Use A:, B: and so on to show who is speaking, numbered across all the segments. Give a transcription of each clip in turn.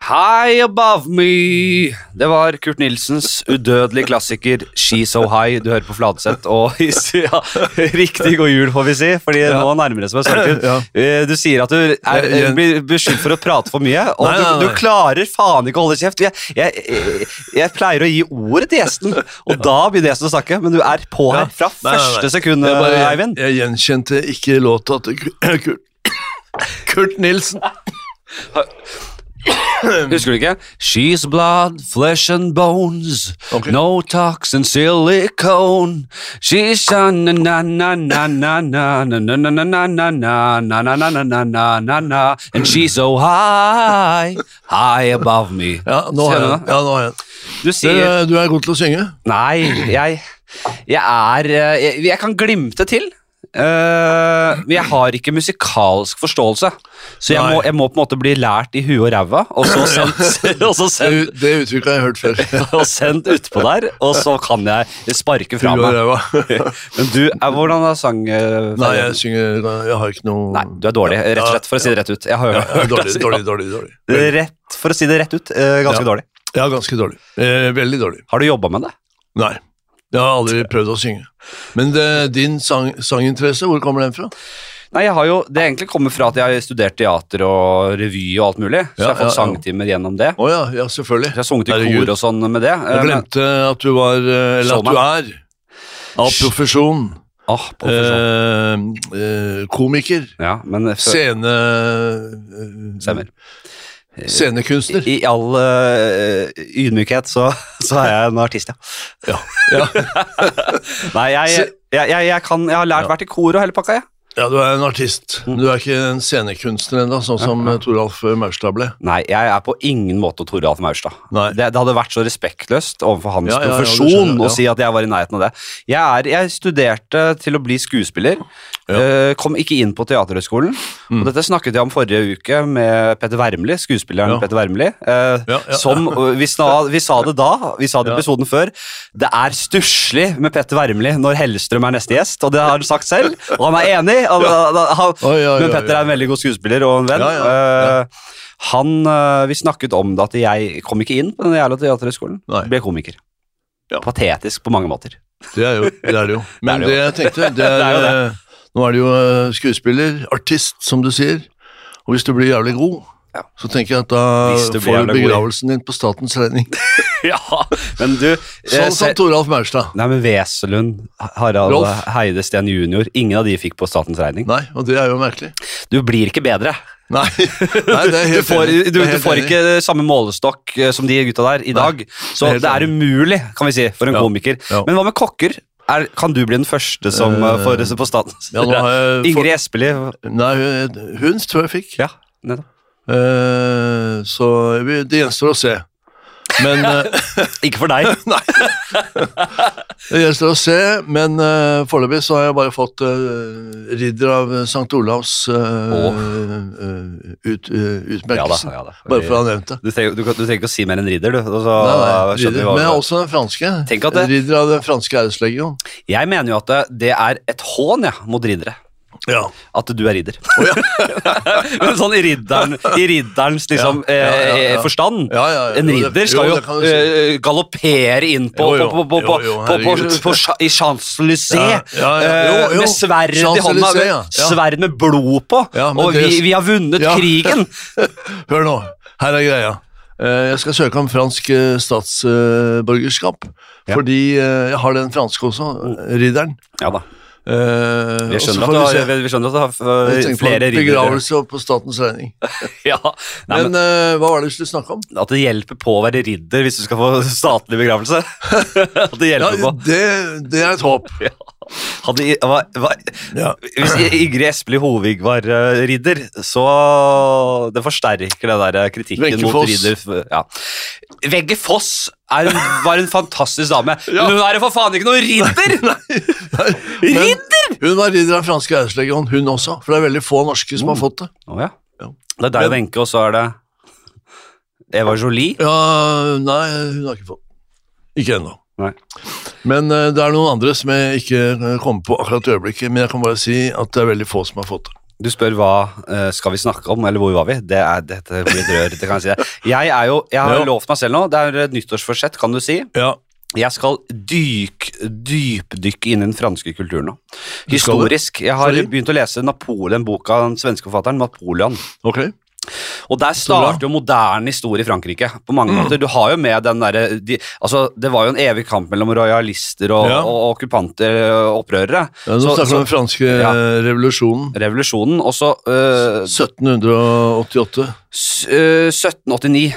A: High Above Me. Det var Kurt Nilsens udødelige klassiker She So High. Du hører på Fladseth. Og ja, riktig god jul, får vi si, Fordi nå nærmer det seg saken.
B: Ja.
A: Eh, Du sier at du er, eh,
B: Jeg- jeg-
A: blir beskyldt for å prate for mye. Og
B: Nei, nei,
A: Du,
B: nei.
A: du klarer faen ikke å holde kjeft. Jeg, jeg, jeg, jeg pleier å gi ordet til gjesten, og da begynner gjesten å snakke. Men du er på her fra
B: Nei, nei, nei.
A: første sekund, eh,
B: Jeg bare-
A: Eivind.
B: Jeg, jeg gjenkjente ikke låta til Kurt, Kurt, Kurt Nilsen.
A: Husker du ikke? She's blood, flesh and bones.
B: Ok.
A: No tox and silicone. She's a na na na na na na na na na na na na na na na na na na na na And she's so high, high above me.
B: Ja, nå har
A: Ser du
B: jeg den.
A: det?
B: Ja, nå har jeg den.
A: Du sier
B: Du, du er god til å synge.
A: Nei, jeg Jeg er eh, Jeg, jeg kan glimte til. eh, men jeg har ikke musikalsk forståelse, så jeg
B: Nei.
A: må, jeg må på en måte bli lært i huet og ræva, og så sendt, og så sendt
B: Det, det uttrykket har jeg hørt før.
A: og sendt utpå der, og så kan jeg sparke fra
B: Du og
A: meg.
B: ræva.
A: Men du, er, hvordan er sang... eh,
B: Nei, jeg synger Jeg har ikke noe
A: Nei, du er dårlig, rett og slett, for å si det rett ut. Jeg har
B: Ja,
A: hørt
B: jeg er dårlig,
A: deg si-
B: dårlig, dårlig, dårlig.
A: Rett, for å si det rett ut, eh, ganske
B: Ja.
A: dårlig.
B: Ja, ganske dårlig. Eh, veldig dårlig.
A: Har du jobbet med det?
B: Nei. Jeg har aldri prøvd å synge. Men det, din sang, sanginteresse, hvor kommer den fra?
A: Nei, jeg har jo, det egentlig kommer fra at jeg har studert teater og revy og alt mulig, så jeg
B: Ja,
A: har fått
B: ja, ja.
A: sangtimer gjennom det.
B: Å ja, ja, selvfølgelig.
A: Så jeg har sunget i
B: Herregud.
A: kor og sånn med det. eh,
B: Jeg
A: men- Sånn,
B: glemte at du var eh, Eller at du er
A: Eh,
B: av profesjon
A: Åh, profesjon.
B: eh, eh, komiker.
A: Ja, men før-
B: Scene...
A: Stemmer.
B: eh, Scenekunstner.
A: Altså, i all eh, ydmykhet så, så er jeg en artist, ja.
B: Ja. ja.
A: Nei, jeg, jeg, jeg, jeg, kan, jeg har lært vært i kor og hele pakka, jeg.
B: Ja, du er en artist.
A: Mm.
B: Men du er ikke en scenekunstner ennå, sånn som eh, Toralf Maurstad ble.
A: Nei, jeg er på ingen måte Toralf Maurstad.
B: Nei.
A: Det, det hadde vært så respektløst overfor hans
B: Ja, ja, ja, det
A: profesjon
B: skjønner jeg, ja.
A: å si at jeg var i nærheten av det. Jeg, er, jeg studerte til å bli skuespiller,
B: Ja. Mm.
A: eh, kom ikke inn på Teaterhøgskolen. Og dette snakket jeg om forrige uke med Petter Wermli, skuespilleren
B: Ja.
A: Petter Wermli. eh,
B: Ja, ja.
A: Som og vi, sna, vi sa det da, vi sa det i episoden før. Det er stusslig med Petter Wermli når Hellstrøm er neste gjest, og det har han sagt selv. Og han er enig, og, da- han,
B: Oi, oi,
A: men
B: oi,
A: Petter
B: oi.
A: er en veldig god skuespiller og en venn.
B: Ja, ja,
A: Eh, han, eh, vi snakket om det at jeg kom ikke inn på den jævla teaterhøgskolen.
B: Nei.
A: Ble komiker.
B: Ja.
A: Patetisk på mange måter.
B: Det er jo, det er det jo. Men
A: Det er det jo.
B: det, jeg tenkte, det er,
A: Det er jo
B: eh, Nå er det jo eh, skuespiller, artist, som du sier. Og hvis du blir jævlig god,
A: Ja.
B: så tenker jeg at da
A: Hvis du blir
B: får du
A: jævlig god, ja.
B: begravelsen din på statens regning.
A: ja, men du eh,
B: Sånn som
A: se-
B: Toralf Maurstad.
A: Nei, men Weselund, Harald
B: Rolf.
A: Heide Steen jr. Ingen av de fikk på statens regning.
B: Nei, og det er jo merkelig.
A: Du blir ikke bedre.
B: Nei, Nei det er
A: Du
B: helt
A: får, du,
B: enig. Det er
A: du
B: helt
A: får
B: enig.
A: ikke samme målestokk eh, som de gutta der i dag. Så
B: helt
A: det er
B: enig.
A: umulig, kan vi si, for en
B: Ja.
A: komiker.
B: Ja.
A: Men hva med kokker? Er, kan du bli den første som
B: Eh,
A: eh, får på statens
B: ja, nå har jeg fått-
A: Ingrid Espelid.
B: Nei, hun- hun tror jeg fikk.
A: Ja, nettopp.
B: Eh, så vi- det gjenstår å se. Men eh,
A: Ikke for deg.
B: Det gjenstår å se, men uh, foreløpig så har jeg bare fått eh, ridder av eh, St. Olavs eh, eh, ut, eh,
A: Ja da,
B: utmerkelse.
A: ja da.
B: Bare for å ha nevnt det.
A: Du trenger, du, kan- du trenger ikke å si mer enn ridder, du. og så
B: Nei, nei,
A: skjønner vi
B: ridder,
A: hva-
B: men også den franske.
A: Tenk at det-
B: Ridder av den franske æreslegion.
A: Jeg mener jo at det, det er et hån ja, mot riddere.
B: Ja.
A: At du er ridder. men sånn i, ridderen, i ridderens liksom,
B: Ja, ja, ja, ja.
A: eh, forstand.
B: Ja, ja,
A: En
B: jo, det-
A: ridder
B: jo,
A: skal jo,
B: det kan du si.
A: eh, galoppere inn på,
B: Jo, jo,
A: på, på, på,
B: jo, jo,
A: på, på,
B: herregud.
A: på, cha- i Champs-Élysées
B: Ja, ja, ja,
A: eh,
B: jo, jo.
A: med sverd i hånda.
B: Champs-Élysées, ja, ja.
A: Sverd med blod på.
B: Ja, men
A: og
B: det-
A: vi, vi har vunnet
B: Ja.
A: krigen!
B: Hør nå, her er greia. Eh, Jeg skal søke om fransk eh, statsborgerskap,
A: Ja.
B: fordi eh, jeg har den franske også, ridderen.
A: Ja da.
B: Eh,
A: Vi
B: og så
A: skjønner, at
B: får vi
A: du,
B: se.
A: har- vi skjønner at du har
B: Jeg
A: eh,
B: tenkte på
A: flere riddere.
B: Begravelse og på statens regning.
A: Ja. Nei, men,
B: men, eh, hva var det du skulle snakke om?
A: At det hjelper på å være ridder hvis du skal få statlig begravelse. At det
B: Ja,
A: hjelper på.
B: det, det er et håp.
A: Ja. Hadde, I- hva, hva,
B: Ja.
A: hvis I- Ingrid Espelid Hovig var eh, ridder, så Det forsterker den der kritikken
B: Wenche
A: mot
B: Foss.
A: ridder. Ja. Vegge Foss er, en- var en fantastisk dame,
B: Ja.
A: men hun er jo for faen ikke noen ridder!
B: Ridder! Hun var ridder av franske æreslegion, hun også. For det er veldig få norske som
A: Oh.
B: har fått det.
A: Å ja.
B: Ja.
A: Det er deg og Wenche, og så er det Eva Jolie.
B: Ja, nei, hun har ikke fått det. Ikke ennå.
A: Nei.
B: Men eh, det er noen andre som jeg ikke eh, kommer på akkurat i øyeblikket. Men jeg kan bare si at det er veldig få som har fått det.
A: Du spør hva eh, skal vi snakke om, eller hvor var vi? Det er, dette blir et rør, det kan jeg si deg. Jeg, er jo, jeg har
B: Ja.
A: jo lovt meg selv nå, det er et nyttårsforsett, kan du si.
B: Ja.
A: Jeg skal dyk, dypdykke inn i den franske kulturen nå.
B: Du skal det?
A: Historisk. Jeg har
B: Fordi?
A: begynt å lese Napoleon, boka av den svenske forfatteren Napoleon.
B: Ok.
A: Og der starter jo moderne historie i Frankrike. på
B: Mm.
A: mange måter. Du har jo med den derre de, altså, Det var jo en evig kamp mellom rojalister og,
B: Ja.
A: og, okkupanter og opprørere.
B: Ja, nå
A: Så-
B: snakker vi om den
A: så-
B: franske
A: Ja.
B: eh, revolusjonen.
A: Revolusjonen, og så øh,
B: 1788.
A: s- øh, 1789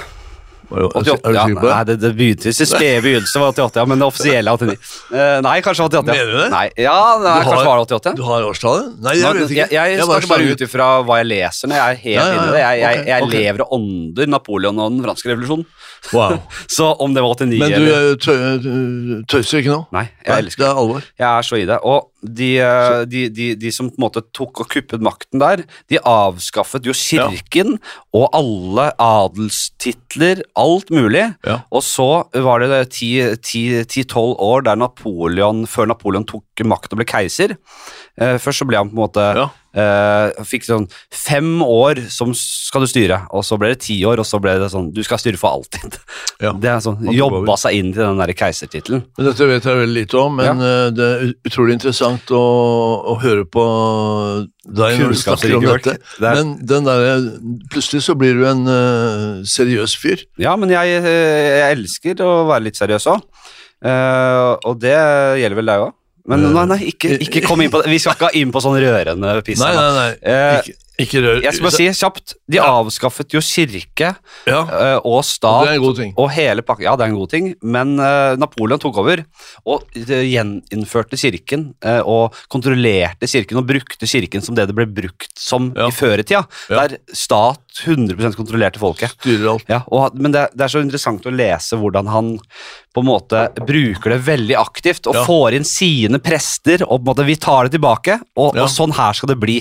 B: Var det-
A: 88,
B: er du
A: ja,
B: sikker på det?
A: Nei, det, det begynte, det spede begynnelsen var 88, ja, men det offisielle er 89. Eh, nei, kanskje 88. Ja.
B: Mener du det?
A: Nei, ja, nei,
B: Du har-
A: kanskje var det 88.
B: Du har årstallet? Nei, jeg
A: Nå,
B: vet ikke.
A: Jeg, jeg,
B: Jeg
A: snakker bare
B: slang
A: ut ifra hva jeg leser. Når jeg er helt
B: Ja, ja,
A: inne i det. Jeg, jeg,
B: ok,
A: jeg
B: ok.
A: lever og ånder Napoleon og den franske revolusjonen.
B: Wow.
A: Så om det var 89
B: Men du
A: eller
B: eh, tø- du tøyser ikke nå?
A: Nei, jeg elsker
B: det er alvor.
A: Jeg er så i det. Og de, eh, de, de, de som på en måte tok og kuppet makten der, de avskaffet jo kirken og alle adelstitler, alt mulig.
B: Ja.
A: Og så var det ti-tolv år der Napoleon, før Napoleon tok makten og ble keiser. Eh, Først så ble han på en måte
B: Ja.
A: eh, fikk sånn fem år som skal du styre, og så ble det ti år, og så ble det sånn du skal styre for alltid.
B: Ja.
A: Det er sånn,
B: tok over.
A: Jobba seg inn til den der keisertittelen.
B: Men Dette vet jeg veldig lite om, men eh, det er ut- utrolig interessant å, å høre på deg når du snakker
A: Kunnskapsrik
B: om
A: work.
B: dette.
A: Det er-
B: Men den der, plutselig så blir du en eh, seriøs fyr.
A: Ja, men jeg, eh, jeg elsker å være litt seriøs òg. og det gjelder vel deg òg.
B: Eh,
A: Men nei, nei, ikke, ikke kom inn på det. Vi skal ikke inn på sånn rørende piss.
B: Nei,
A: her nå.
B: nei, nei.
A: Eh,
B: Ikke, ikke rør
A: Jeg skal bare si kjapt, de avskaffet jo kirke
B: Ja,
A: eh, og stat
B: det er en god ting.
A: og hele pakken. Ja, det er en god ting, men eh, Napoleon tok over og eh, gjeninnførte kirken eh, og kontrollerte kirken og brukte kirken som det det ble brukt som
B: Ja.
A: i føretida,
B: Ja.
A: der stat 100 kontrollerte folket.
B: Styrer alt.
A: Ja, og, han- men det, det er så interessant å lese hvordan han på en måte bruker det veldig aktivt og
B: Ja.
A: får inn sine prester og på en måte vi tar det tilbake, og,
B: Ja.
A: og sånn her skal det bli.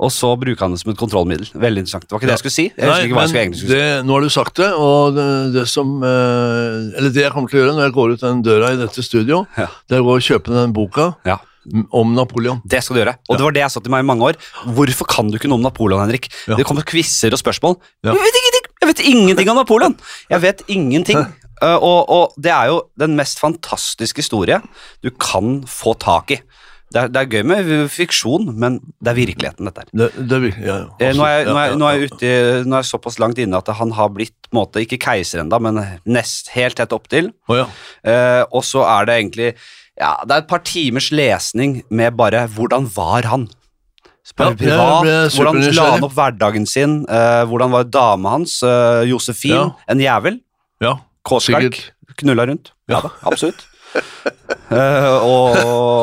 A: Og så bruker han det som et kontrollmiddel. Veldig interessant. Det var ikke det jeg skulle si. Jeg
B: Nei,
A: husker ikke hva jeg
B: men
A: skulle egentlig skulle si.
B: det, nå har du sagt det, og det, det som eh, Eller det jeg kommer til å gjøre når jeg går ut den døra i dette studio,
A: Ja.
B: det er å gå og kjøpe den boka
A: Ja.
B: m- om Napoleon.
A: Det skal du gjøre. Og det var det jeg sa til meg i mange år. Hvorfor kan du ikke noe om Napoleon, Henrik?
B: Ja.
A: Det kommer quizer og spørsmål.
B: Ja.
A: Jeg vet ingenting! Jeg vet ingenting om Napoleon! Jeg vet ingenting. Eh, og, og det er jo den mest fantastiske historie du kan få tak i. Det er, det er gøy med fiksjon, men det er virkeligheten, dette her.
B: Det, det er virkelig ja, ja,
A: Eh, Nå er, jeg- nå, er,
B: absolutt.
A: nå,
B: Ja,
A: er
B: ja,
A: jeg ute, i- nå er jeg såpass langt inne at han har blitt på en måte, ikke keiser ennå, men nest helt tett opptil.
B: ja. Å, ja.
A: Eh, og så er det egentlig ja, det er et par timers lesning med bare hvordan var han? Bare
B: Ja, jeg
A: privat,
B: ble
A: Hvordan la
B: supernysgjerrig.
A: han opp hverdagen sin? eh, hvordan var dama hans? eh, Josefin,
B: Ja.
A: en jævel.
B: ja.
A: Kåsverk.
B: Sikkert.
A: Knulla rundt. Ja,
B: Ja.
A: da, absolutt. Eh, og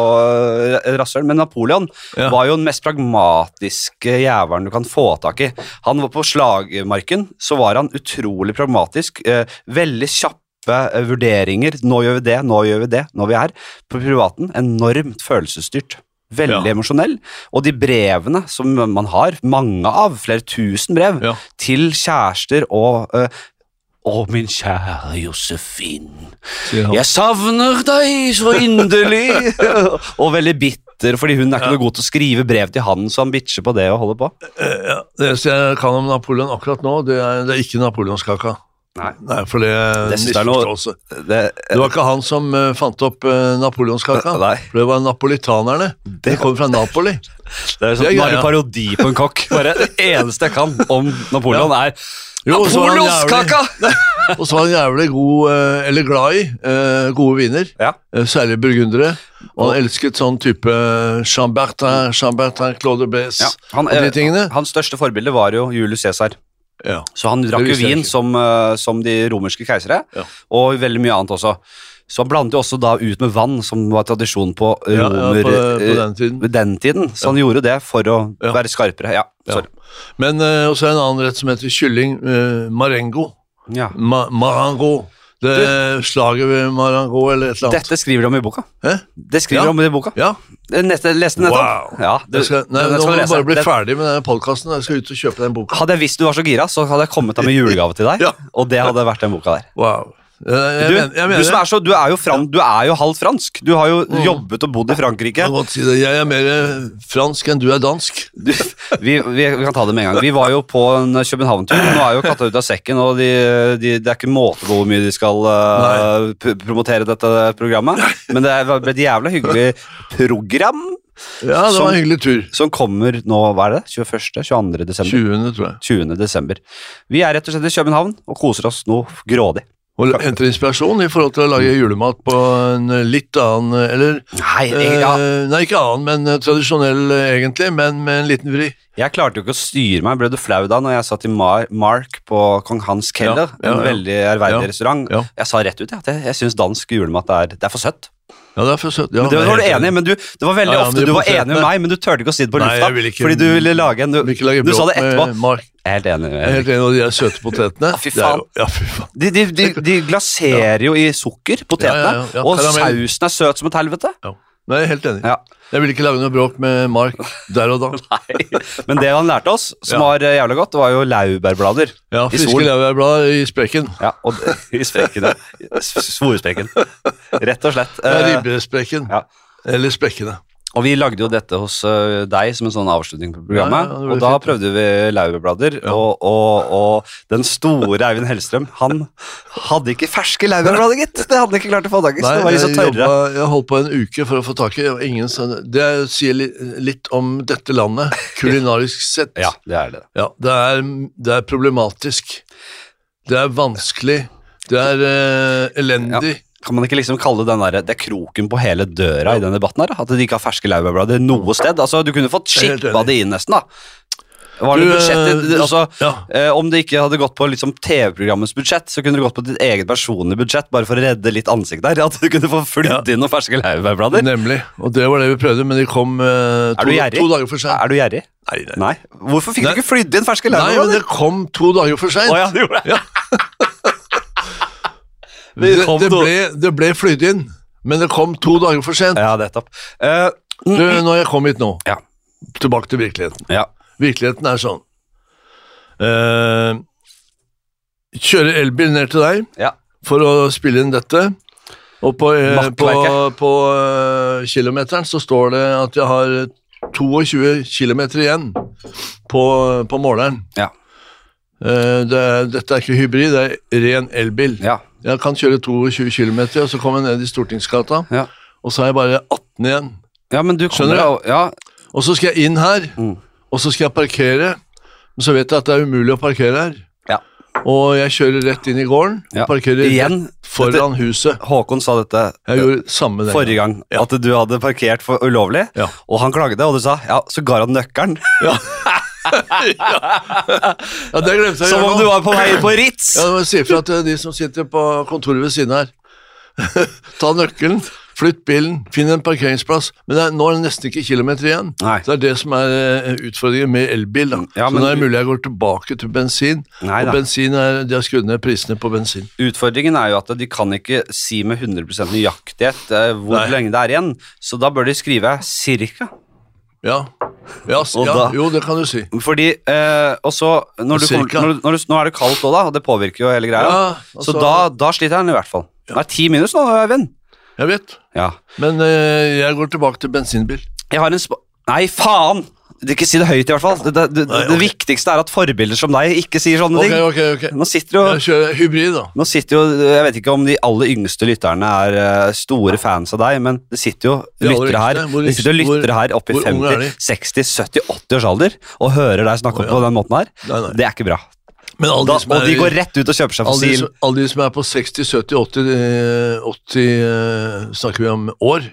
A: og rasshøl. Men Napoleon
B: Ja.
A: var jo den mest pragmatiske jævelen du kan få tak i. Han var på slagmarken, så var han utrolig pragmatisk. eh, veldig kjappe eh, vurderinger. Nå gjør vi det, nå gjør vi det, nå er vi her. På privaten enormt følelsesstyrt. Veldig
B: Ja.
A: emosjonell. Og de brevene som man har, mange av, flere tusen brev,
B: Ja.
A: til kjærester og eh, Å, min kjære Josefin.
B: sier han.
A: Jeg savner deg så inderlig! og veldig bitter, fordi hun er ikke noe god til å skrive brev til han, så han bitcher på det og holder på.
B: Ja, det eneste jeg kan om Napoleon akkurat nå, det er, det er ikke napoleonskaka.
A: Nei.
B: Nei, for det er
A: Det synes jeg er noe-
B: misforståelse.
A: Det,
B: Det var ikke han som eh, fant opp eh, napoleonskaka.
A: Nei.
B: For det var napolitanerne. Det kom fra Napoli.
A: det er sånn,
B: Det er
A: nå er
B: greia.
A: det parodi på en kokk. Bare Det eneste jeg kan om Napoleon, er
B: Jo, så var han
A: Napoleonskaka!
B: Og så var han jævlig god, eh, eller glad i, eh, gode viner.
A: Ja.
B: eh, Særlig burgundere. Og han elsket sånn type Chambertin, Chambertin, Claude de Bes
A: Ja, han,
B: og de
A: eh,
B: tingene.
A: Hans største forbilde var jo Julius Cæsar.
B: Ja.
A: Så han drakk
B: Det
A: jo
B: visste jeg
A: vin
B: ikke.
A: som, eh, som de romerske keisere,
B: Ja.
A: og veldig mye annet også. Så han blandet jo også da ut med vann, som var tradisjon på romer
B: Ja, ja, på, på
A: eh,
B: den tiden.
A: ved den tiden. Så han gjorde det for å
B: Ja.
A: være skarpere. Ja, sorry.
B: Men eh, også en annen rett som heter kylling. eh, marengo.
A: Ja.
B: Ma marango. Det er slaget ved Marango eller et eller annet.
A: Dette skriver de om i boka.
B: Hæ?
A: Det skriver
B: Ja.
A: de om i boka.
B: Ja.
A: Den Neste, leste den nettopp.
B: Wow.
A: Ja, du-
B: Jeg skal, nei,
A: den
B: nå
A: skal
B: må
A: du
B: jeg
A: lese.
B: bare bli
A: Den-
B: ferdig med denne podkasten. Jeg skal ut og kjøpe den boka.
A: Hadde jeg visst du var så gira, så hadde jeg kommet deg med julegave til deg.
B: Ja.
A: Og det hadde vært den boka der.
B: Wow. Eh, Jeg,
A: Du,
B: mener, jeg
A: du,
B: mener
A: som er så, du, er jo fran, du er jo halvt fransk. Du har jo jobbet og bodd i Frankrike.
B: Jeg må godt si det. Jeg er mer fransk enn du er dansk.
A: Du, vi, vi, vi kan ta det med en gang. Vi var jo på en København-tur. Nå er jo katta ute av sekken, og de, de, det er ikke måte på hvor mye de skal eh, p- promotere dette programmet. Men det er- ble et jævla hyggelig program
B: Ja, det
A: Som-
B: var en hyggelig tur.
A: som kommer nå, hva er det? 21.? 22. desember?
B: 20. tror jeg.
A: 20. desember. Vi er rett og slett i København og koser oss noe grådig.
B: Og henter inspirasjon i forhold til å lage julemat på en litt annen Eller
A: Nei, jeg, ja.
B: eh, Nei, ikke annen, men eh, tradisjonell eh, egentlig, men med en liten vri.
A: Jeg klarte jo ikke å styre meg. Ble du flau da når jeg satt i Mar Mark på Kong Hans Keller?
B: Ja, ja,
A: En
B: ja.
A: veldig ærverdig
B: Ja,
A: restaurant.
B: ja.
A: Jeg sa rett ut jeg, at jeg, jeg syns dansk julemat er, det er for søtt.
B: Ja, det er for søtt.
A: Men
B: Ja,
A: det var du
B: helt
A: enig i, men du, det var veldig
B: Ja, ja,
A: ofte
B: men
A: du var
B: potetene-
A: enig med meg, men du turte ikke å si det på
B: Nei,
A: lufta.
B: jeg vil ikke-
A: Fordi du ville lage en Du,
B: Jeg vil ikke lage
A: du sa det
B: bråk med
A: etterpå.
B: Mark.
A: Jeg er helt enig.
B: Jeg er
A: Erik.
B: helt enig, og de er søte potetene.
A: fy
B: Det er
A: faen.
B: jo- Ja, fy faen.
A: De, de, de, de glaserer jo i sukker, potetene,
B: Ja, ja, ja, ja,
A: og
B: karamell.
A: sausen er søt som et helvete.
B: Ja. Nei, jeg er helt enig.
A: Ja.
B: Jeg ville ikke lage noe bråk med Mark der og da.
A: Men det han lærte oss, som
B: Ja.
A: var eh, jævla godt, var jo laurbærblader.
B: Ja,
A: I sol.
B: Friske leverblad i sprekken.
A: Ja, og i sprekken, ja. Svoresprekken. Rett og slett.
B: Ja,
A: Eh,
B: Ribbesprekken.
A: ja.
B: Eller sprekkene.
A: og vi lagde jo dette hos eh, deg som en sånn avslutning på programmet.
B: Ja, ja, det ble
A: og da
B: fint,
A: prøvde vi laurbærblader, og, og, og den store Eivind Hellstrøm, han hadde ikke ferske laurbærblader, gitt. Det hadde han ikke klart å få tak i, så det var de så
B: jeg,
A: tørre.
B: jobba- jeg holdt på en uke for å få tak i og ingen sa- Det sier li, litt om dette landet, kulinarisk sett.
A: Ja, det er det.
B: Ja, det, er, det er problematisk. Det er vanskelig. Det er eh, elendig.
A: Kan man ikke liksom kalle den der, det er kroken på hele døra i den debatten her? da? At de ikke har ferske laurbærblader noe sted? Altså, Du kunne fått
B: Jeg er helt
A: skippa
B: enig.
A: det inn nesten, da. Var det
B: Du, eh,
A: budsjettet,
B: du-
A: altså,
B: ja.
A: eh, Om det ikke hadde gått på liksom, TV-programmets budsjett, så kunne det gått på ditt eget personlige budsjett, bare for å redde litt ansikt der. At du kunne få flydd inn noen ferske laurbærblader.
B: Nemlig. Og det var det vi prøvde, men de kom eh,
A: Er du
B: to,
A: gjerrig?
B: to dager for seint.
A: Er du gjerrig?
B: Nei, nei.
A: Nei. Hvorfor fikk
B: Nei.
A: du ikke flydd inn ferske
B: nei, men
A: laurbærblader?
B: det kom to dager for seint.
A: Å ja, det gjorde det.
B: Det,
A: Det kom
B: det,
A: to-
B: ble, det ble flydd inn, men det kom to dager for sent.
A: Ja, nettopp. Eh,
B: Du, når jeg kom hit nå,
A: Ja.
B: tilbake til virkeligheten.
A: ja.
B: Virkeligheten er sånn. Eh, kjøre elbil ned til deg
A: ja.
B: for å spille inn dette. Og på, eh, på,
A: Makkverket.
B: på eh, kilometeren så står det at jeg har 22 km igjen på, på måleren.
A: Ja.
B: Eh, det, er- dette er ikke hybrid, det er ren elbil.
A: Ja.
B: Jeg kan kjøre 22 km, og så kommer jeg ned i Stortingsgata,
A: Ja.
B: og så er jeg bare 18 igjen.
A: ja, men du kommer
B: Skjønner
A: jo Ja,
B: Og så skal jeg inn her,
A: Mm.
B: og så skal jeg parkere, men så vet jeg at det er umulig å parkere her.
A: Ja.
B: Og jeg kjører rett inn i gården,
A: ja.
B: og parkerer rett
A: Igjen. Dette,
B: foran huset.
A: Håkon sa dette eh,
B: Jeg gjorde samme den.
A: forrige gang at du hadde parkert for ulovlig,
B: Ja.
A: og han klagde, og du sa ja, så ga han nøkkelen.
B: Ja, det glemte jeg å
A: Som om
B: gjøre
A: du
B: nå.
A: var på vei på Ritz!
B: Ja, jeg må si fra til de som sitter på kontoret ved siden her. Ta nøkkelen, flytt bilen, finn en parkeringsplass. Men det er, nå er det nesten ikke kilometer igjen.
A: Nei.
B: Så Det er det som er eh, utfordringen med elbil. da.
A: Ja,
B: så
A: men
B: nå er det
A: du-
B: mulig jeg går tilbake til bensin.
A: Nei
B: og
A: da.
B: bensin er, De har skrudd ned prisene på bensin.
A: Utfordringen er jo at de kan ikke si med 100 nøyaktighet eh, hvor
B: Nei.
A: lenge det er igjen, så da bør de skrive cirka.
B: Ja, ja, s-
A: Og
B: ja
A: da-
B: jo, det kan du si.
A: Fordi, eh, og så når du kommer,
B: Cirka.
A: når, du- når du, Nå er det kaldt òg, da, og det påvirker jo hele greia.
B: Ja, og
A: så
B: så-
A: da, da sliter han i hvert fall. Det er ti minus nå, Øyvind.
B: Jeg vet.
A: Ja.
B: Men eh, jeg går tilbake til bensinbil.
A: Jeg har en sp... Nei, faen! Ikke si det høyt, i hvert fall. Det, det, det,
B: Nei,
A: det
B: ok.
A: viktigste er at forbilder som deg ikke sier sånne
B: Ok,
A: ting.
B: ok, ok.
A: Nå sitter jo
B: Jeg kjører hybrid, da.
A: Nå sitter jo, Jeg vet ikke om de aller yngste lytterne er eh, store fans av deg, men det sitter jo
B: De aller
A: lyttere her
B: yngste? Hvor
A: det sitter jo
B: yngste- hvor-
A: lyttere her oppe i
B: hvor unge er
A: 50,
B: de?
A: 60, 70, 80 års alder og hører deg snakke
B: Å, ja.
A: på den måten her.
B: Nei, nei.
A: Det er ikke bra.
B: Men alle
A: Da,
B: de som
A: og
B: er
A: de
B: i-
A: går rett ut og kjøper seg
B: Alle de,
A: fossil.
B: som, alle de som er på 60, 70, 80, eh, 80 eh, snakker vi om år,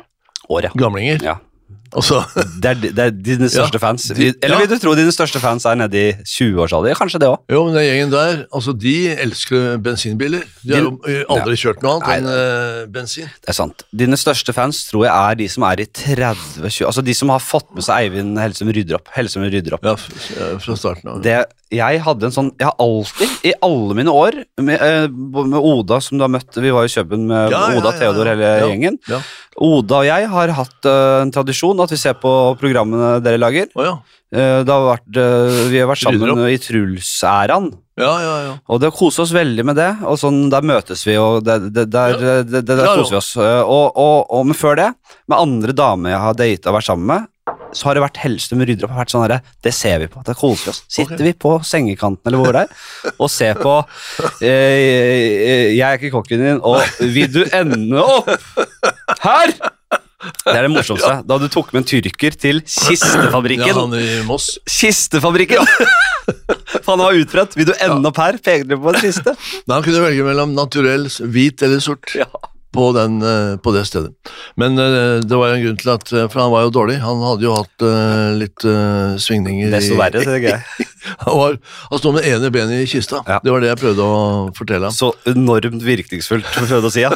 A: År, ja.
B: gamlinger.
A: ja.
B: Altså,
A: Det er, det er dine største fans.
B: de-
A: Eller
B: ja.
A: vil du tro dine største fans er nede i 20-årsalder? Kanskje det òg.
B: jo, men den gjengen der, altså de elsker bensinbiler. De har jo eh, aldri kjørt noe annet
A: Nei,
B: enn eh, bensin.
A: Det er sant. Dine største fans tror jeg er de som er i 30-20 Altså de som har fått med seg Eivind Hellstrøm rydder opp. Hellstrøm rydder opp.
B: Ja, f- eh, fra starten av.
A: det, jeg hadde en sånn Jeg har alltid, i alle mine år med, eh, med Oda, som du har møtt Vi var i København med
B: Ja, ja,
A: Oda,
B: ja, ja.
A: Theodor, hele
B: Ja.
A: gjengen.
B: Ja.
A: Oda og jeg har hatt eh, en tradisjon at vi ser på programmene dere lager.
B: Å ja.
A: Eh, Det har vært, eh, vi har vært
B: Rydder
A: sammen i Truls-æraen,
B: Ja, ja, ja.
A: og det koser oss veldig med det. Og sånn, Der møtes vi, og det, det, der, det, det, der
B: Ja, ja.
A: koser vi oss. Eh, Og, og, og men før det, med andre damer jeg har data og vært sammen med, så har det vært Hellstrøm og rydder opp. og vært sånn herre, Det ser vi på. Det koser vi oss. Sitter
B: Ok.
A: vi på sengekanten eller hvor det er, og ser på eh, eh, Jeg er ikke kokken din, og vil du ende opp her? Det er det morsomste. Da du tok med en tyrker til
B: ja
A: Kistefabrikken.
B: han i Moss.
A: Kistefabrikken! Faen, det var utbredt. Vil du ende opp her? Peker dere på en kiste?
B: Men han kunne velge mellom naturell, hvit eller sort
A: Ja.
B: på, den, eh, på det stedet. Men eh, det var jo en grunn til at eh, For han var jo dårlig. Han hadde jo hatt eh, litt eh, svingninger
A: Desto
B: i-
A: verre, tenker jeg.
B: Han, var, han sto med det ene benet i kista.
A: Ja.
B: Det var det jeg prøvde å fortelle ham.
A: Så enormt virkningsfullt, prøvde å si. Ja.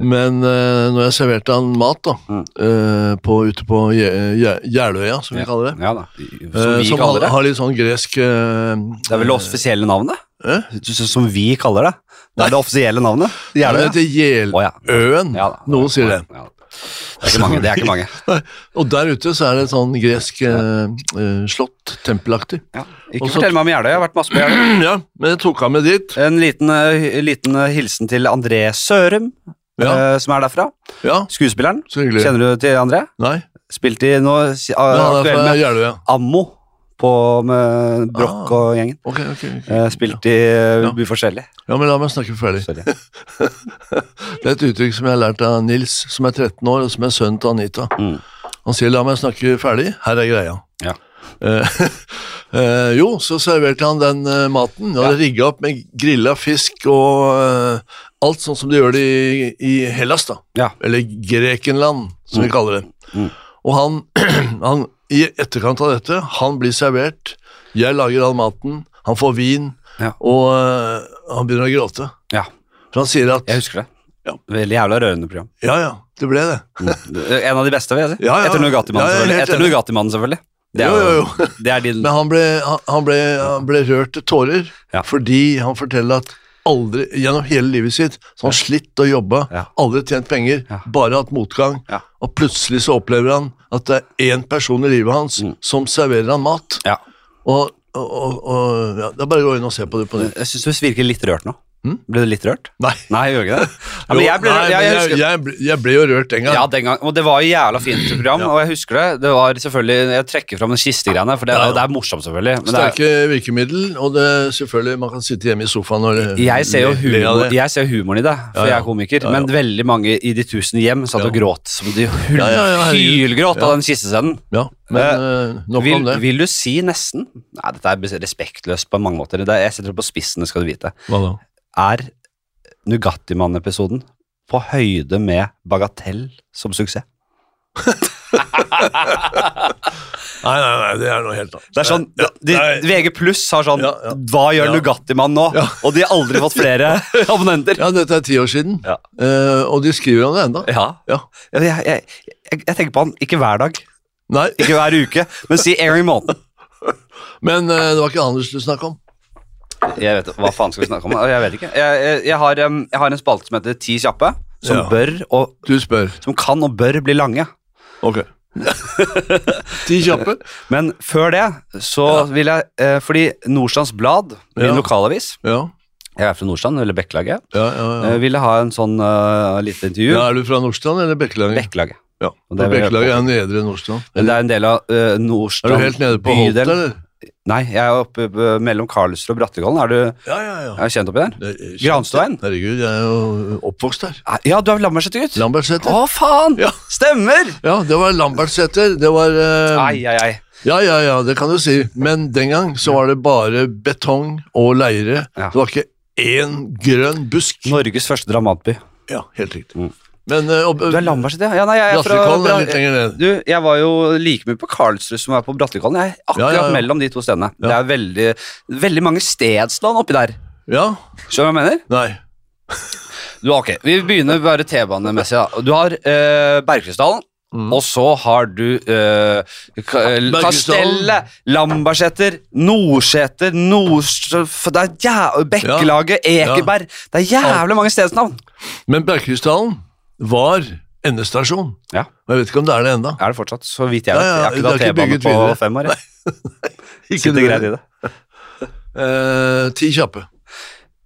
B: Men eh, når jeg serverte han mat da,
A: Mm.
B: eh, på, ute på Gje- Gje- Jeløya, som vi kaller det
A: Ja da. Som
B: eh,
A: vi
B: Som
A: kaller
B: har,
A: det.
B: har litt sånn gresk eh,
A: Det er vel det offisielle navnet?
B: eh,
A: Som vi kaller det. Det er det offisielle navnet.
B: Det
A: Jeløya.
B: heter
A: Å, ja.
B: Jeløen.
A: Ja da.
B: Noen sier det.
A: Ja. Det er ikke mange. det er ikke mange.
B: Og der ute så er det et sånn gresk eh, eh, slott, tempelaktig.
A: Ja. Ikke
B: Og så-
A: fortell meg om Jeløya. Jeg har vært masse på Jeløya.
B: ja, men jeg tok han med dit.
A: En liten, eh, liten eh, hilsen til André Sørum,
B: Ja.
A: eh, som er derfra.
B: Ja,
A: Skuespilleren.
B: så hyggelig.
A: Kjenner du til André?
B: Nei,
A: Spilt i nå uh,
B: men han er
A: aktuell
B: fra
A: med
B: Jeløya.
A: Ammo på, med Broch
B: Ah.
A: og gjengen.
B: Ok, ok. ok.
A: Eh, spilt i eh,
B: Ja.
A: Uforskjellig.
B: Ja, men la meg snakke ferdig.
A: Sorry.
B: Det er et uttrykk som jeg har lært av Nils, som er 13 år, og som er sønnen til Anita.
A: Mm.
B: Han sier 'la meg snakke ferdig, her er greia'.
A: Ja.
B: Eh, eh, jo, så serverte han den eh, maten. Og
A: Ja.
B: ja. rigga opp med grilla fisk og eh, alt sånn som de gjør det i, i Hellas, da.
A: Ja.
B: Eller Grekenland, som vi kaller det.
A: Mm.
B: Og han, han, i etterkant av dette, han blir servert, jeg lager all maten, han får vin,
A: Ja.
B: og eh, han begynner å gråte.
A: ja,
B: For han sier at
A: jeg husker det.
B: Ja.
A: Veldig jævla rørende program. Mm.
B: Ja, ja, det ble det.
A: En av de beste, vil jeg si.
B: Ja, ja.
A: Etter Nugatimannen,
B: Ja, jeg er
A: selvfølgelig.
B: helt
A: Etter
B: enig.
A: Nugatimannen, selvfølgelig.
B: Jo, jo, jo.
A: det er din
B: Men han ble, han, han ble, han ble rørt til tårer
A: Ja.
B: fordi han forteller at aldri, gjennom hele livet sitt så har han slitt og jobba,
A: Ja.
B: aldri tjent penger,
A: Ja.
B: bare hatt motgang.
A: Ja.
B: Og plutselig så opplever han at det er én person i livet hans
A: Mm.
B: som serverer han mat.
A: ja.
B: Og, og, og, og ja, Det er bare å gå inn og se på det på nytt.
A: Jeg syns du virker litt rørt nå. Ble du litt rørt?
B: Nei.
A: Nei, jeg gjør ikke det. Ja, men
B: Hm? Jo,
A: jeg ble,
B: nei,
A: jeg, jeg,
B: men
A: husker,
B: jeg, jeg, ble, jeg ble jo rørt den
A: Ja,
B: gangen.
A: den gang, og det var jo jævla fint program, og jeg husker det. Det var selvfølgelig, Jeg trekker fram den kistegreiene, for det, er-
B: Ja.
A: det er morsomt, selvfølgelig. Men det er,
B: Sterke virkemiddel, og det selvfølgelig man kan sitte hjemme i sofaen og le-
A: jeg ser jo
B: le- le av
A: humor,
B: det.
A: jeg ser humoren i det, for
B: Ja, ja.
A: jeg er komiker,
B: Ja, ja.
A: men veldig mange i de tusen hjem satt og
B: Ja.
A: gråt som de hull,
B: Ja, ja, ja, herregud.
A: hylgråt
B: Ja.
A: av den kistescenen.
B: Ja, men eh, nok
A: Vil,
B: om det.
A: vil du si nesten Nei, dette er bes- respektløst på mange måter. Det er, jeg setter det på spissen, det skal du vite.
B: Hva da?
A: Er Nugattimann-episoden på høyde med Bagatell som suksess?
B: Nei, nei, nei, det er noe helt annet.
A: Det er sånn, de,
B: nei.
A: VG pluss har sånn
B: Ja, ja.
A: Hva gjør
B: Ja.
A: Nugatti-mann nå? Og de har aldri fått flere abonnenter.
B: Ja, dette er ti år siden,
A: Ja.
B: Eh, og de skriver om det enda.
A: Ja.
B: Ja.
A: Jeg, jeg, jeg, jeg tenker på han ikke hver dag,
B: Nei,
A: ikke hver uke, men si en gang i måneden.
B: men eh, det var ikke Anders du snakket om.
A: Jeg vet, Hva faen skal vi snakke om? Jeg vet ikke. Jeg, jeg, jeg, har, em, jeg har en spalte som heter Ti kjappe, som,
B: Ja.
A: bør og,
B: Du spør.
A: som kan og bør bli lange.
B: Ok. ti kjappe.
A: Men før det, så vil jeg eh, Fordi Nordstrands Blad, min
B: Ja.
A: lokalavis
B: Ja,
A: Jeg er fra Nordstrand, eller Bekkelaget.
B: ja, ja. ja.
A: eh, Ville ha en sånn eh, lite intervju.
B: ja er du fra Nordstrand eller Bekkelaget?
A: Bekkelaget.
B: ja,
A: det vil jeg
B: Bekkelaget er nedre Nordstrand.
A: Men det er en del av uh,
B: Er
A: Nordstrand
B: du helt nede på Holt,
A: bydel.
B: eller?
A: Nei, jeg er oppe eh, mellom Karlsrud og Brattekollen. Er du
B: Ja, ja, ja.
A: er du kjent oppi der?
B: Det er-
A: Granstein?
B: Herregud, jeg er jo oppvokst der.
A: Ja, du er Lambertseter-gutt? Å,
B: Lambertseter.
A: faen!
B: Ja.
A: Stemmer!
B: Ja, det var Lambertseter. Det var... eh,
A: Ai, ai, ai.
B: Ja, ja, ja, det kan du si. Men den gang så var det bare betong og leire.
A: Ja.
B: Det var ikke én grønn busk.
A: Norges første dramatby.
B: Ja, helt riktig.
A: Mm.
B: Men eh, og,
A: Du er Lambertseter, ja? ja? Nei, jeg er fra
B: Brattekollen er litt
A: Bra-
B: lenger ned.
A: du, jeg var jo like mye på Karlsrud som jeg er på Brattekollen. Jeg er akkurat
B: Ja, ja, ja.
A: mellom de to stedene. Det
B: Ja.
A: er veldig, veldig mange stedsland oppi der.
B: Ja?
A: Skjønner du hva jeg mener?
B: Nei.
A: Du, ok, Vi begynner bare T-banemessig. da. Du har eh, Bergkrystallen,
B: Mm.
A: og så har du eh, Ka- eh,
B: Bergkrystallen.
A: Kastellet, Lambertseter, Nordseter, Nordstr... Det er jæ Bekkelaget, Ekeberg Det er jævlig mange stedsnavn.
B: Men Bergkrystallen var endestasjon.
A: Ja.
B: Og jeg vet ikke om det er det enda.
A: Er det fortsatt? Så vidt jeg
B: Ja,
A: vet.
B: ja,
A: Jeg har ikke
B: det er
A: tatt
B: ikke
A: T-bane
B: bygget
A: på
B: videre.
A: fem år. jeg.
B: Ikke
A: Sitter
B: det.
A: greit i det.
B: Eh, ti kjappe.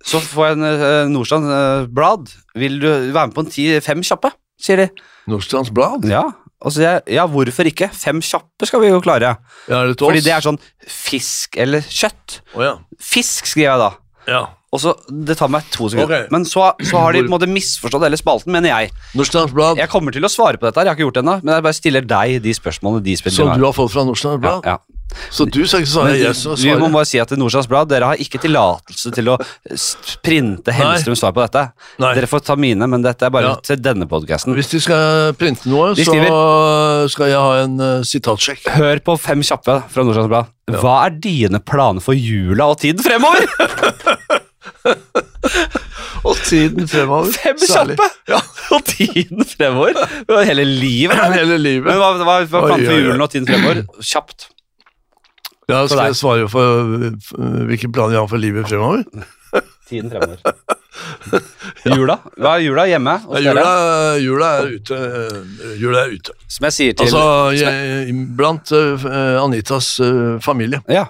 A: Så får jeg en eh, Nordstrand eh, Blad. Vil du være med på en ti, fem kjappe? Sier de.
B: Nordstrands Blad?
A: Ja. Og så sier jeg ja, hvorfor ikke? Fem kjappe skal vi jo klare.
B: Ja, er det til
A: Fordi
B: oss?
A: det er sånn fisk eller kjøtt.
B: Å, ja.
A: Fisk, skriver jeg da.
B: ja.
A: Og så, Det tar meg to sekunder.
B: Ok.
A: Men så, så har de på en måte misforstått hele spalten, mener jeg.
B: Nordstrands Blad,
A: Jeg kommer til å svare på dette, her, jeg har ikke gjort det ennå. Men jeg bare stiller deg de spørsmålene de spiller.
B: som du har fått fra Nordstrands
A: ja,
B: Blad.
A: ja.
B: Så du skal ikke svare
A: Men
B: yes og
A: vi må
B: svare
A: bare si at i Nordstrands Blad dere har ikke tillatelse til å s- printe Hellstrøms svar på dette.
B: Nei.
A: Dere får ta mine, men dette er bare
B: Ja.
A: til denne podkasten.
B: Hvis de skal printe noe,
A: De
B: så skal jeg ha en eh, sitatsjekk.
A: Hør på Fem kjappe fra Nordstrands Blad. Hva er dine planer for jula og tiden fremover?
B: Og tiden fremover.
A: Fem
B: særlig.
A: kjappe!
B: Ja,
A: og tiden fremover? Det var Hele livet?
B: hele
A: Men
B: livet.
A: hva, hva, hva er planen
B: Oi, oi,
A: for
B: oi.
A: julen og tiden fremover? Kjapt.
B: Ja,
A: for
B: skal
A: deg.
B: jeg svare for eh, hvilke planer jeg har for livet fremover?
A: Tiden fremover. Jula? Hva er jula hjemme? hos
B: Ja,
A: dere?
B: jula, jula er ute. eh, Jula er ute.
A: Som jeg sier til
B: Altså jeg, blant eh, Anitas eh, familie.
A: Ja,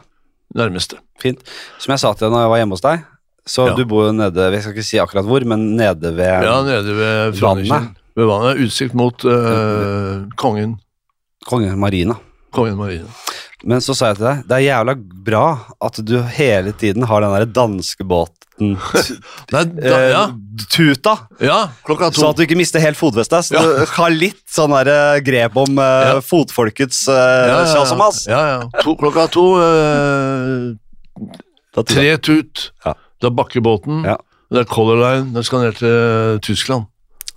B: Nærmeste.
A: fint. Som jeg sa til deg når jeg var hjemme hos deg. Så
B: Ja.
A: du bor jo nede ved, jeg skal ikke si akkurat hvor, men nede ved
B: Ja, nede ved
A: Vannet.
B: Frognerkilen. Ved vannet. Utsikt mot eh, kongen.
A: Kongen Marina.
B: Kongen Marie.
A: Men så sa jeg til deg, det er jævla bra at du hele tiden har den der danskebåten
B: Nei, da,
A: eh,
B: ja.
A: tuta,
B: ja, klokka
A: så
B: to.
A: at du ikke mister helt fotfestet. Så
B: Ja.
A: du har litt sånn der eh, grep om eh,
B: Ja.
A: fotfolkets eh,
B: ja, ja,
A: sjasamas.
B: ja, ja. To, klokka to. eh,
A: Da tuta.
B: tre tut.
A: Ja.
B: Det er Bakkebåten.
A: Ja.
B: Det er Color Line. Den skal ned til Tyskland.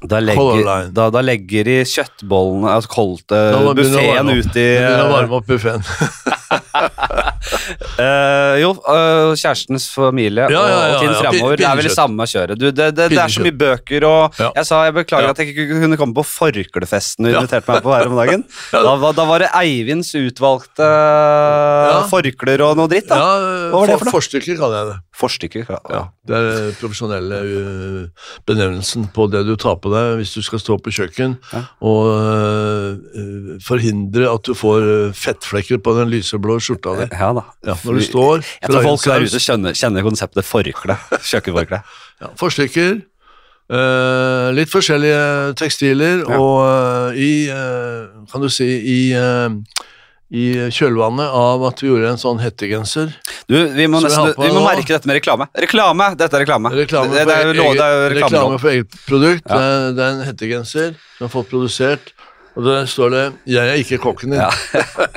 A: Da
B: Color
A: legger,
B: Line.
A: da, da legger de kjøttbollene, altså kolt,
B: Da
A: uh,
B: må man begynne å
A: buffeen
B: varme opp.
A: ut i
B: Den begynner å varme opp buffeen.
A: eh, Jo, eh, kjærestens familie
B: Ja, ja,
A: og- og
B: ja,
A: tiden
B: ja, pin-
A: fremover. Det er vel det
B: pinnekjøtt.
A: samme kjøret. Du, det, det, det er så mye bøker og
B: Ja.
A: Jeg sa jeg beklager
B: Ja.
A: at jeg ikke kunne komme på forklefesten du
B: Ja.
A: inviterte meg på her om dagen. Da, var- da var det Eivinds utvalgte eh, forkler og noe dritt, da.
B: Ja,
A: Hva var det for noe?
B: Forstykker kaller jeg det.
A: Forstykker. Ja.
B: Ja, Det er den profesjonelle ø, benevnelsen på det du tar på deg hvis du skal stå på kjøkken
A: Ja.
B: og ø, ø, forhindre at du får ø, fettflekker på den lyseblå skjorta di.
A: Ja da.
B: Ja, når du står
A: Eh, jeg tror folk
B: drar
A: der
B: en
A: ute
B: saus.
A: kjenner, kjenner konseptet forkle. Kjøkkenforkle.
B: ja, Forstykker, ø, litt forskjellige tekstiler,
A: Ja.
B: og ø, i ø, Kan du si i ø, i kjølvannet av at vi gjorde en sånn hettegenser.
A: Du, vi må,
B: Skal vi
A: nesten,
B: ha på
A: vi må
B: nå?
A: merke dette med reklame. Reklame! Dette er reklame.
B: Reklame
A: det,
B: for,
A: det er, jo lov- det er jo
B: eget, reklame
A: reklamelov.
B: for eget produkt.
A: Ja.
B: Det, er, det er en hettegenser som har fått produsert, og der står det 'Jeg er ikke kokken din'.
A: Ja.
B: Ja,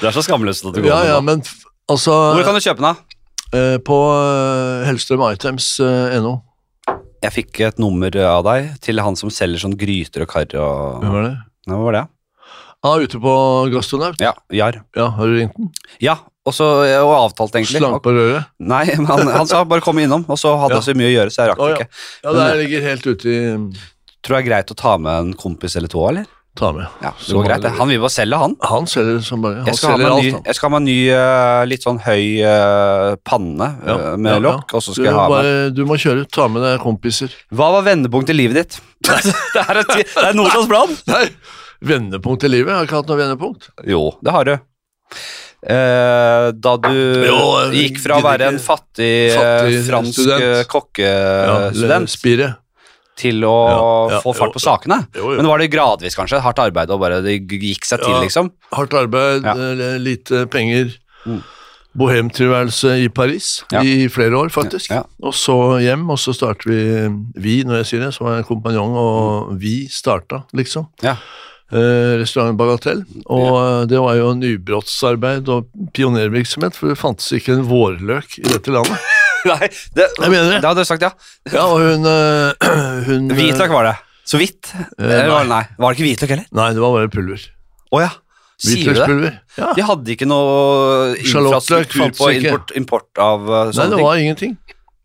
A: Du er så skamløs at du går
B: ja,
A: med den.
B: men f- altså
A: Hvor kan du kjøpe den, da?
B: eh, På eh, hellstrømitems.no.
A: Jeg fikk et nummer av deg til han som selger sånn gryter og kar og
B: Hvem er det?
A: Nei, Hva var det?
B: Ah, ute på Gastronaut?
A: Ja, Jar.
B: Ja, har du ringt den?
A: Ja, og så eh, og avtalt, egentlig.
B: Slang på røret?
A: Nei, men han, han sa bare komme innom, og så hadde
B: Ja.
A: jeg så mye å gjøre, så jeg rakk
B: Å,
A: det
B: ja.
A: ikke.
B: Ja,
A: Men-
B: det ligger helt ute i
A: Tror det er greit å ta med en kompis eller to, eller?
B: Ta med.
A: Ja, det
B: Så
A: går greit. det. Han vil bare selge, han.
B: Han selger som bare Han
A: Jeg skal, ha
B: selger
A: meg en ny,
B: alt, han.
A: jeg skal ha meg en ny, eh, litt sånn høy eh, panne
B: Ja,
A: eh, med
B: ja, ja.
A: lokk, og så
B: Du,
A: skal jeg ha meg
B: bare, du må kjøre. Ta med deg kompiser.
A: Hva var vendepunktet i livet ditt? det er, et- det er Nordlands Blad.
B: Nei, vendepunkt i livet? Jeg har ikke hatt noe vendepunkt.
A: Jo, det har du. Eh, da du
B: Jo, jeg
A: gikk fra å være en
B: gidder ikke.
A: fattig, eh,
B: Fattig
A: fransk
B: student.
A: eh, kokkestudent
B: Spire.
A: til å
B: Ja, ja,
A: få fart på
B: jo, jo.
A: sakene.
B: Jo, jo.
A: Men var det gradvis, kanskje? Hardt arbeid og bare det g- gikk seg til,
B: Ja.
A: liksom?
B: Hardt arbeid,
A: Ja.
B: eh, lite penger.
A: Mm.
B: Bohemtilværelse i Paris
A: Ja.
B: i flere år, faktisk.
A: Ja, ja.
B: Og så hjem, og så starter vi eh, Vi, når jeg sier det, så var jeg en kompanjong, og vi starta, liksom.
A: Mm. Ja.
B: Eh, Restaurant Bagatell. Og eh, det var jo nybrottsarbeid og pionervirksomhet, for det fantes ikke en vårløk i dette landet.
A: Nei, det,
B: Jeg mener det.
A: det hadde du sagt, ja.
B: Ja, og hun, eh, hun eh,
A: Hvitløk var det. Så vidt? Eller var det, nei. Var det ikke hvitløk heller?
B: Nei, det var bare pulver.
A: Å ja. Sier du det?
B: Hvitløkspulver. Ja.
A: De hadde ikke noe
B: Sjalottløk
A: infrastruktur på
B: fantes ikke.
A: import, import av uh,
B: Nei,
A: sånne
B: det
A: ting.
B: var ingenting.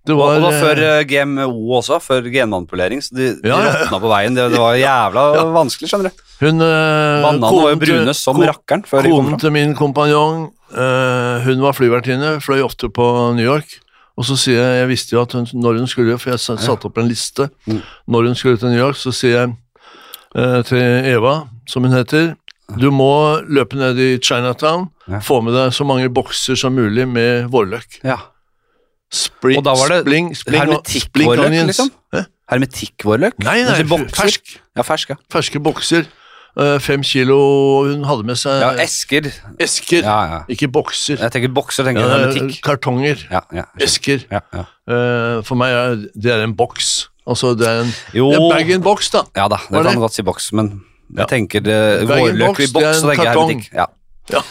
B: Det var,
A: og det var
B: eh,
A: før eh, GMO også, før genmanipulering. Så de,
B: Ja,
A: de
B: ja, ja.
A: råtna på veien. Det, det var jævla vanskelig, skjønner du.
B: Hun eh,
A: Bananene var jo
B: konen til-
A: brune som
B: ko-
A: rakkeren før de kom
B: Konen
A: fram.
B: til min kompanjong, eh, hun var flyvertinne, fløy ofte på New York. Og så sier jeg, jeg visste jo at hun, når hun skulle, for jeg sa- satte opp en liste,
A: Mm.
B: når hun skulle til New York, så sier jeg eh, til Eva, som hun heter. Du må løpe ned i Chinatown,
A: Ja.
B: få med deg så mange bokser som mulig med vårløk.
A: Ja.
B: Spring,
A: Og da var det
B: spling, spling, spling
A: Hermetikkvårløk,
B: onions.
A: liksom?
B: Hæ?
A: Hermetikkvårløk?
B: Nei, nei,
A: Altså, bokser?
B: fersk.
A: Ja, fersk, ja.
B: Ferske bokser. eh, Fem kilo Hun hadde med seg
A: Ja, Esker.
B: esker,
A: Ja, ja.
B: ikke bokser.
A: Jeg tenker bokser, tenker
B: Ja,
A: jeg
B: det er
A: hermetikk.
B: kartonger.
A: Ja, ja.
B: Esker.
A: ja, ja.
B: Eh, for meg er det er en boks. Altså, det er en,
A: Jo.
B: det er bag in box, da.
A: Ja da, det
B: Var
A: kan
B: det?
A: du godt si boks, men
B: Ja.
A: jeg tenker det,
B: Det er
A: vårløk
B: ingen
A: i
B: boks, det er
A: boks,
B: en
A: så tenker jeg
B: kartong.
A: hermetikk. Ja.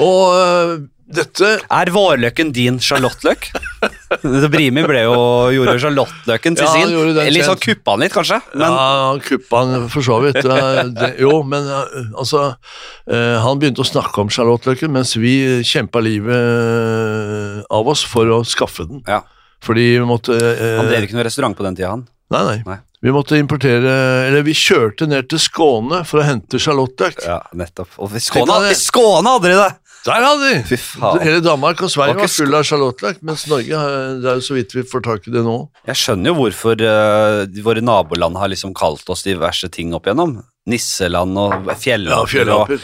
B: Og eh, dette
A: Er vårløken din sjalottløk? Så Brimi ble jo, gjorde jo sjalottløken til
B: Ja, han
A: sin.
B: gjorde den
A: Eller
B: kjent.
A: sånn kuppa han litt, kanskje. Men
B: ja, han kuppa han for så vidt. Eh, Det, jo, men eh, altså eh, Han begynte å snakke om sjalottløken mens vi kjempa livet av oss for å skaffe den.
A: ja.
B: Fordi vi måtte eh,
A: han drev ikke noe restaurant på den tida, han.
B: nei, nei.
A: Nei.
B: Vi måtte importere Eller vi kjørte ned til Skåne for å hente sjalottløk.
A: Ja, nettopp. Og i
B: Tenk
A: Skåne, i
B: deg det.
A: Skåne hadde de det!
B: Der hadde vi!
A: Fy faen.
B: Hele Danmark og Sverige
A: Det var
B: var
A: ikke
B: full av sjalottløk, mens Norge eh, det er jo så vidt vi får tak i det nå.
A: Jeg skjønner jo hvorfor eh, de- våre naboland har liksom kalt oss diverse ting opp igjennom. Nisseland og
B: Ja,
A: fjellaper. og,
B: fjellaper.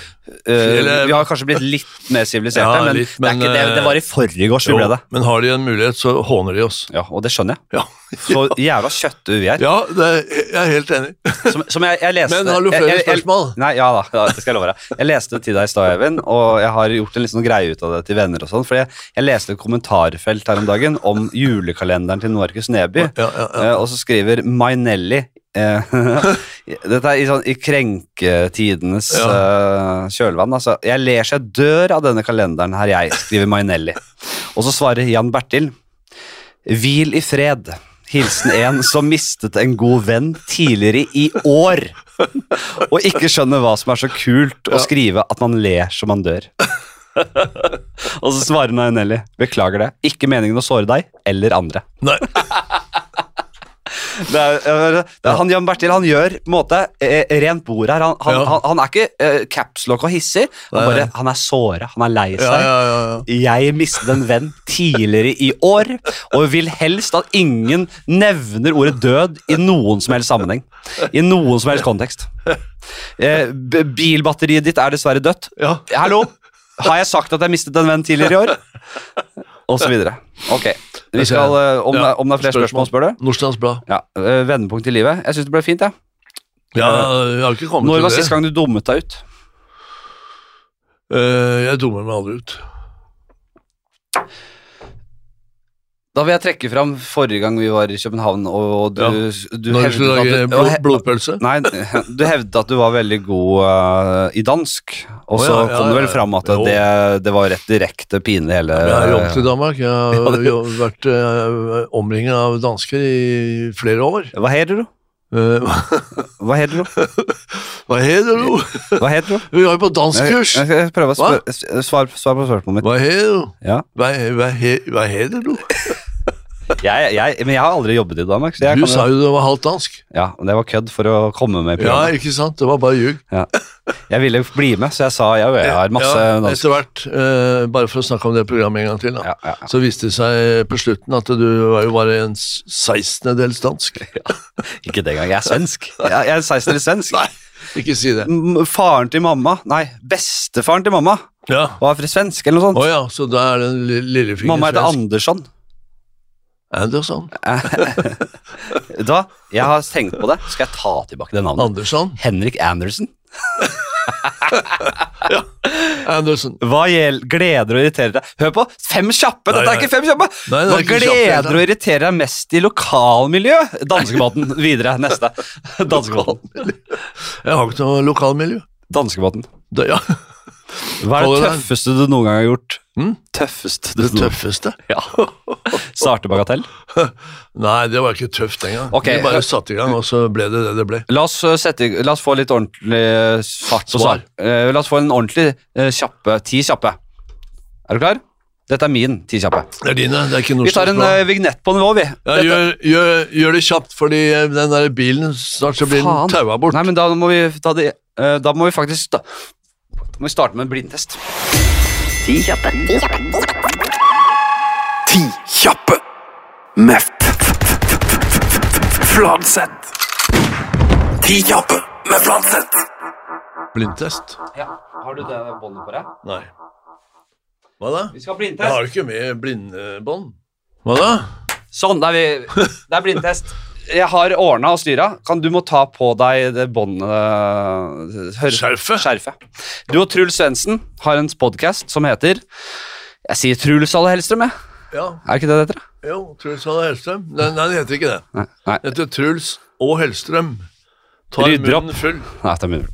A: eh,
B: Fjellet-
A: vi har kanskje blitt litt mer siviliserte,
B: Ja,
A: men, det,
B: litt,
A: er
B: men, eh,
A: ikke, det, det var i forgårs vi
B: Jo,
A: ble det.
B: Men har de en mulighet, så håner de oss.
A: Ja, og det skjønner jeg.
B: Ja,
A: Så jævla kjøttue vi er.
B: ja det er, jeg er helt enig.
A: Som, som jeg, jeg leste
B: Men har du
A: jeg-
B: flere
A: jeg- jeg-
B: spørsmål?
A: Nei, ja da, ja, det skal jeg love deg. Jeg leste det til deg i stad, Eivind, og jeg har gjort en litt sånn greie ut av det til venner og sånn, for jeg, jeg leste et kommentarfelt her om dagen om julekalenderen til Markus Neby,
B: Ja, ja, ja.
A: eh, og så skriver Mainelli eh, Dette er i, sånn, i krenketidenes eh, kjølvann. Altså, jeg ler så jeg dør av denne kalenderen her, jeg, skriver Mainelli. Og så svarer Jan Bertil Hvil i fred. Hilsen en som mistet en god venn tidligere i år. Og ikke skjønner hva som er så kult å skrive at man ler som man dør. Og så svarer Nelly beklager det. Ikke meningen å såre deg eller andre.
B: Nei,
A: Det er, det er, han Jan Bertil han gjør på en måte eh, rent bord her. Han, han,
B: Ja.
A: han, han er ikke eh, capslock og hissig. Han,
B: Nei.
A: bare, han er såra, han er lei seg.
B: ja, ja, ja, ja.
A: Jeg mistet en venn tidligere i år, og vil helst at ingen nevner ordet død i noen som helst sammenheng. I noen som helst kontekst. Eh, b- bilbatteriet ditt er dessverre dødt.
B: ja.
A: Hallo! Har jeg sagt at jeg mistet en venn tidligere i år? Og så videre. Ok. Vi skal, eh, om, det, om det er flere spørsmål, spør du?
B: Nordstrands Blad.
A: Ja, eh, Vendepunkt i livet. Jeg syns det ble fint. jeg.
B: Ja, jeg har ikke kommet
A: Når var
B: til det.
A: sist gang du dummet deg ut?
B: Eh, jeg dummer meg aldri ut.
A: Da vil jeg trekke fram forrige gang vi var i København, og du,
B: Ja.
A: du
B: Når vi
A: hevdet
B: skulle
A: at
B: lage
A: du- og
B: blod,
A: he-
B: blodpølse.
A: Nei, du hevdet at du var veldig god eh, i dansk, og
B: Å,
A: så
B: ja, ja,
A: kom det vel
B: ja.
A: fram at
B: Jo.
A: det, det var rett direkte pinlig hele
B: Jeg har jobbet i Danmark. Jeg har jo vært eh, omringet av dansker i flere år.
A: Hva heter du?
B: Eh,
A: Hva heter du?
B: hva heter du?
A: Hva heter du?
B: Vi var jo på danskkurs.
A: Jeg skal prøve å spørre, svar, svar på spørsmålet mitt.
B: Hva heter du?
A: Ja.
B: Hva, hva, he- hva heter du?
A: Jeg, jeg, men jeg har aldri jobbet i Danmark. Så jeg
B: Du
A: kan,
B: sa jo du var halvt dansk.
A: ja, men det var kødd for å komme med i
B: Ja,
A: programmet.
B: ikke sant? Det var bare ljug.
A: Jeg ville bli med, så jeg sa ja, jeg har masse
B: Ja,
A: dansk.
B: etter hvert, eh, bare for å snakke om det programmet en gang til, da.
A: Ja, ja, ja.
B: Så viste det seg på slutten at du var jo bare en s- 16-dels dansk.
A: Ikke det engang. Jeg er svensk. Jeg, jeg er 16 eller svensk.
B: Ikke si det.
A: M- Faren til mamma, nei, bestefaren til mamma
B: Ja.
A: var fra svensk eller noe
B: Å
A: sånt.
B: ja, så da er det en li- lillefinger
A: Mamma heter Andersson.
B: Andersson.
A: Da, jeg har tenkt på det. Skal jeg ta tilbake det navnet?
B: Andersson.
A: Henrik Andersen.
B: Andersen.
A: Hva gjel- gleder og irriterer deg Hør på! Fem kjappe! Dette
B: Nei,
A: er ikke fem kjappe!
B: Nei, det
A: Hva
B: er ikke kjapt, det
A: gleder
B: er
A: og irriterer deg mest i lokalmiljø? Danskebåten. Videre. Neste. Danskebåten.
B: Jeg har ikke noe lokalmiljø.
A: Danskebåten.
B: Det, ja.
A: Hva er det
B: Color Line.
A: tøffeste du noen gang har gjort?
B: Mm?
A: Tøffest du
B: det
A: noen
B: tøffeste.
A: Starte bagatell?
B: Nei, det var ikke tøft engang.
A: Ok.
B: Vi bare satte i gang, og så ble det det det ble.
A: La oss, eh, sette, i- la oss få litt ordentlig eh, fart på
B: Svar.
A: svar. Eh, La oss få en ordentlig eh, kjappe. Ti kjappe. Er du klar? Dette er min ti kjappe.
B: Det er dine, det er ikke
A: Vi tar en
B: Nordstrandsblad.
A: eh, vignett på nivå, vi.
B: Ja, gjør, gjør, gjør det kjapt, fordi eh, den der bilen snart så blir
A: Faen.
B: den taua bort.
A: Nei, men da må vi, ta det- eh, da må vi faktisk sta- da må vi starte med en blindtest.
C: Ti kjappe. Ti kjappe.
D: Ti kjappe med Fladseth. Ti kjappe med Fladseth.
B: Blindtest?
A: Ja. Har du det båndet på deg?
B: Nei. Hva da?
A: Vi skal ha
B: Jeg har
A: blindtest.
B: jo ikke med blindebånd. Hva da?
A: Sånn, det er, vi, det er blindtest. Jeg har ordna og styra. Kan du må ta på deg det eh, båndet hør-
B: Skjerfet?
A: Skjerfet. Du og Truls Svendsen har en podkast som heter Jeg sier Truls alle Hellstrøm, jeg.
B: Ja,
A: Er ikke det det heter? da?
B: jo, Truls og Hellstrøm. Nei, nei, det heter ikke det.
A: Nei. Nei.
B: Det heter Truls og Hellstrøm. Tar
A: Rydder opp.
B: munnen full.
A: Nei, det er mulig.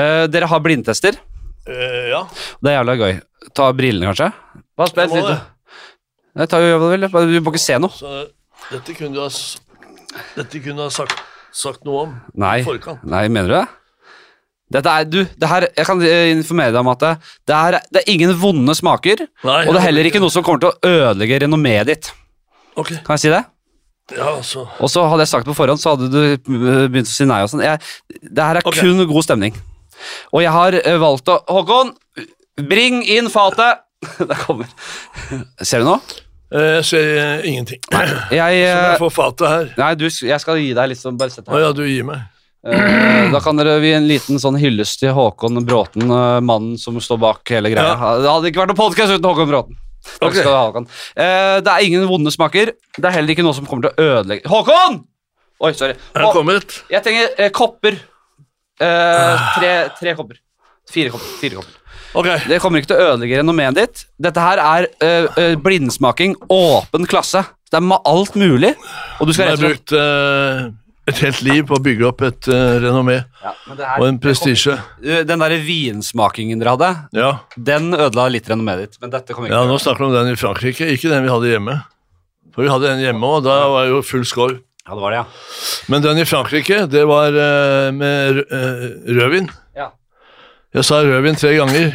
A: Eh, dere har blindtester.
B: Eh, ja.
A: Det er jævla gøy. Ta brillene, kanskje? Bare spill
B: Jeg må
A: litt.
B: det.
A: Nei, ta jo hva du vil. Bare- Du må ikke se noe.
B: Så dette kunne du ha, s- dette kunne du ha sagt, sagt noe om
A: Nei.
B: i forkant.
A: Nei, mener du det? Dette er, du, det her, jeg kan eh, informere deg om at det, det, er, det er ingen vonde smaker,
B: Nei,
A: og det er heller ikke noe som kommer til å ødelegge renommeet ditt.
B: Ok,
A: Kan jeg si det?
B: ja, altså.
A: Og så hadde jeg sagt det på forhånd, så hadde du eh, begynt å si nei og sånn. Jeg- Det her er
B: Ok.
A: kun god stemning. Og jeg har eh, valgt å Håkon, bring inn fatet! Der kommer Ser du nå?
B: Eh, Jeg ser eh, ingenting. Som
A: Jeg,
B: jeg
A: eh,
B: får fatet her.
A: nei, du, jeg skal gi deg litt sånn Bare sett
B: Å
A: her.
B: ja, du gir meg.
A: Eh, Da kan dere gi en liten sånn hyllest til Håkon Bråten, eh, mannen som står bak hele greia. Det hadde ikke vært noen podkast uten Håkon Bråten. Takk
B: Ok.
A: skal du ha, Håkon. Eh, Det er ingen vonde smaker. Det er heller ikke noe som kommer til å ødelegge Håkon! Oi, sorry.
B: Her
A: Hå-
B: kommer et.
A: Jeg trenger eh, kopper. Eh, tre, tre kopper. Fire kopper. Fire kopper.
B: Ok,
A: Det kommer ikke til å ødelegge renommeet ditt. Dette her er eh, eh, blindsmaking, åpen klasse. Det er ma- alt mulig. Og du
B: jeg
A: skal
B: har
A: rett og slett
B: brukt eh, et helt liv på å bygge opp et eh, renommé
A: ja, men det her-
B: og en prestisje.
A: Eh, Den derre vinsmakingen dere hadde,
B: Ja.
A: den ødela litt renommeet ditt. Men dette kommer
B: ja,
A: ikke
B: nå snakker vi om den i Frankrike, ikke den vi hadde hjemme. For vi hadde en hjemme, og da var jo full skår.
A: Ja, det var det, ja.
B: Men den i Frankrike, det var eh, med rø- eh, rødvin.
A: Ja.
B: Jeg sa rødvin tre ganger,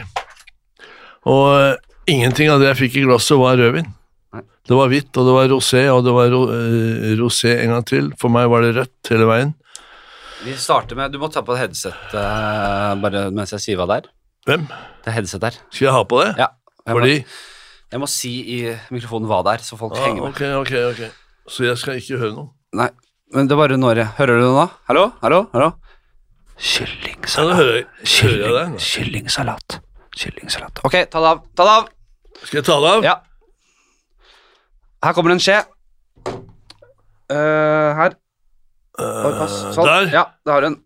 B: og eh, ingenting av det jeg fikk i glasset, var rødvin.
A: Nei.
B: Det var hvitt, og det var rosé, og det var ro eh, rosé en gang til. For meg var det rødt hele veien.
A: Vi starter med Du må ta på et headset eh, bare mens jeg sier hva det er.
B: Hvem?
A: Det er headset der.
B: Skal jeg ha på det?
A: Ja. Jeg må,
B: Fordi
A: jeg må si i mikrofonen hva det er, så folk
B: ah,
A: henger med.
B: Ok, ok, ok. Så jeg skal ikke høre noe?
A: Nei, men det er bare når jeg Hører du det nå? Hallo? Hallo? Hallo?
B: Ja, da
A: Kyllingsalat.
B: hører jeg, hører jeg deg. nå.
A: Kyllingsalat. Kyllingsalat. Ok, ta det av. Ta det av.
B: Skal jeg ta det av?
A: Ja. Her kommer det en skje. Eh, her. Oi, pass. Sånn.
B: Eh, der.
A: Ja, det har du en.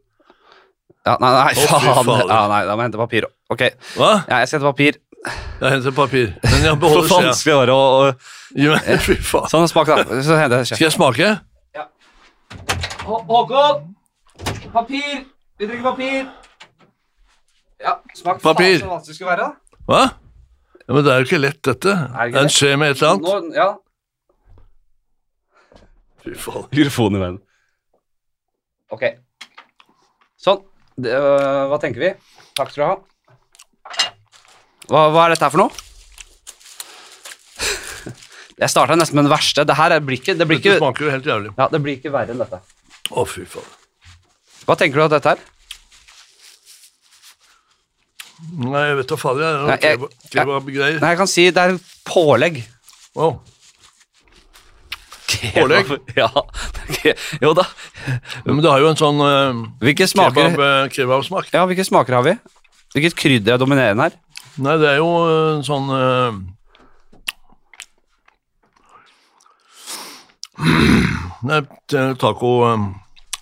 A: Ja, nei, nei,
B: Å, fy
A: faen.
B: fader.
A: Ja, nei, da må jeg hente papir. Ok,
B: Hva?
A: ja, jeg skal hente papir.
B: Jeg henter papir. Men jeg beholder skjea.
A: var det å å-
B: Gi meg- Fy faen.
A: Sånn, smak, da. Så henter jeg en skje.
B: Skal jeg smake?
A: Hå- Håkon! Papir! Vi trenger papir! Ja, smak
B: Papir.
A: faen så vanskelig det skulle være. da.
B: Hva? Ja, men det er jo ikke lett, dette.
A: det ikke
B: det er en
A: lett?
B: skje med et eller annet.
A: Nå, ja.
B: Fy faen.
A: Mikrofon i veien. Ok. Sånn. Det, øh, hva tenker vi? Takk skal du ha. Hva, hva er dette her for noe? Jeg starta nesten med den verste. Det her er- blir ikke, det blir
B: Dette
A: ikke,
B: smaker jo helt jævlig.
A: ja, det blir ikke verre enn dette.
B: Å, fy faen.
A: Hva tenker du at dette er?
B: Nei, jeg vet da fader, jeg.
A: Nei,
B: Det er
A: jeg-
B: noe kebab- Kebabgreier.
A: Nei, jeg kan si det er pålegg.
B: Wow.
A: Kebab. Ja. ok. Jo da.
B: Ja, Men det har jo en sånn eh,
A: Hvilke smaker
B: kebab, eh, kebabsmak.
A: Ja, hvilke smaker har vi? Hvilket krydder er dominerende her?
B: Nei, det er jo eh, en sånn eh, Nei, t- taco eh,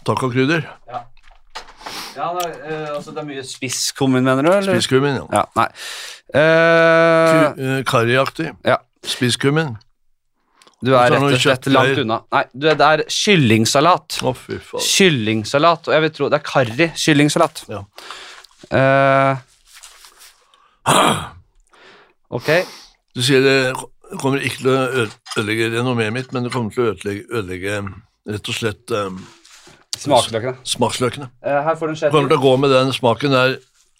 B: Tacokrydder.
A: Ja, det er, altså det er mye spisskummin, mener du? Eller?
B: Spisskummin, ja.
A: Ja, nei. Eh,
B: Ku- eh, Karriaktig.
A: ja,
B: Spisskummin.
A: du er
B: Så er
A: rett
B: det
A: og
B: noe
A: slett
B: kjøttdeig.
A: langt unna. Nei, du, det er kyllingsalat.
B: Å, fy faen.
A: Kyllingsalat, og jeg vil tro det er karri. Kyllingsalat.
B: Ja.
A: Eh, ok.
B: Du sier det kommer ikke til å øde- ødelegge renommeet mitt, men det kommer til å ødelegge, ødelegge rett og slett eh,
A: Smakløkene.
B: smaksløkene.
A: Eh, her får du en
B: Du kommer
A: skje
B: til å gå med den smaken der.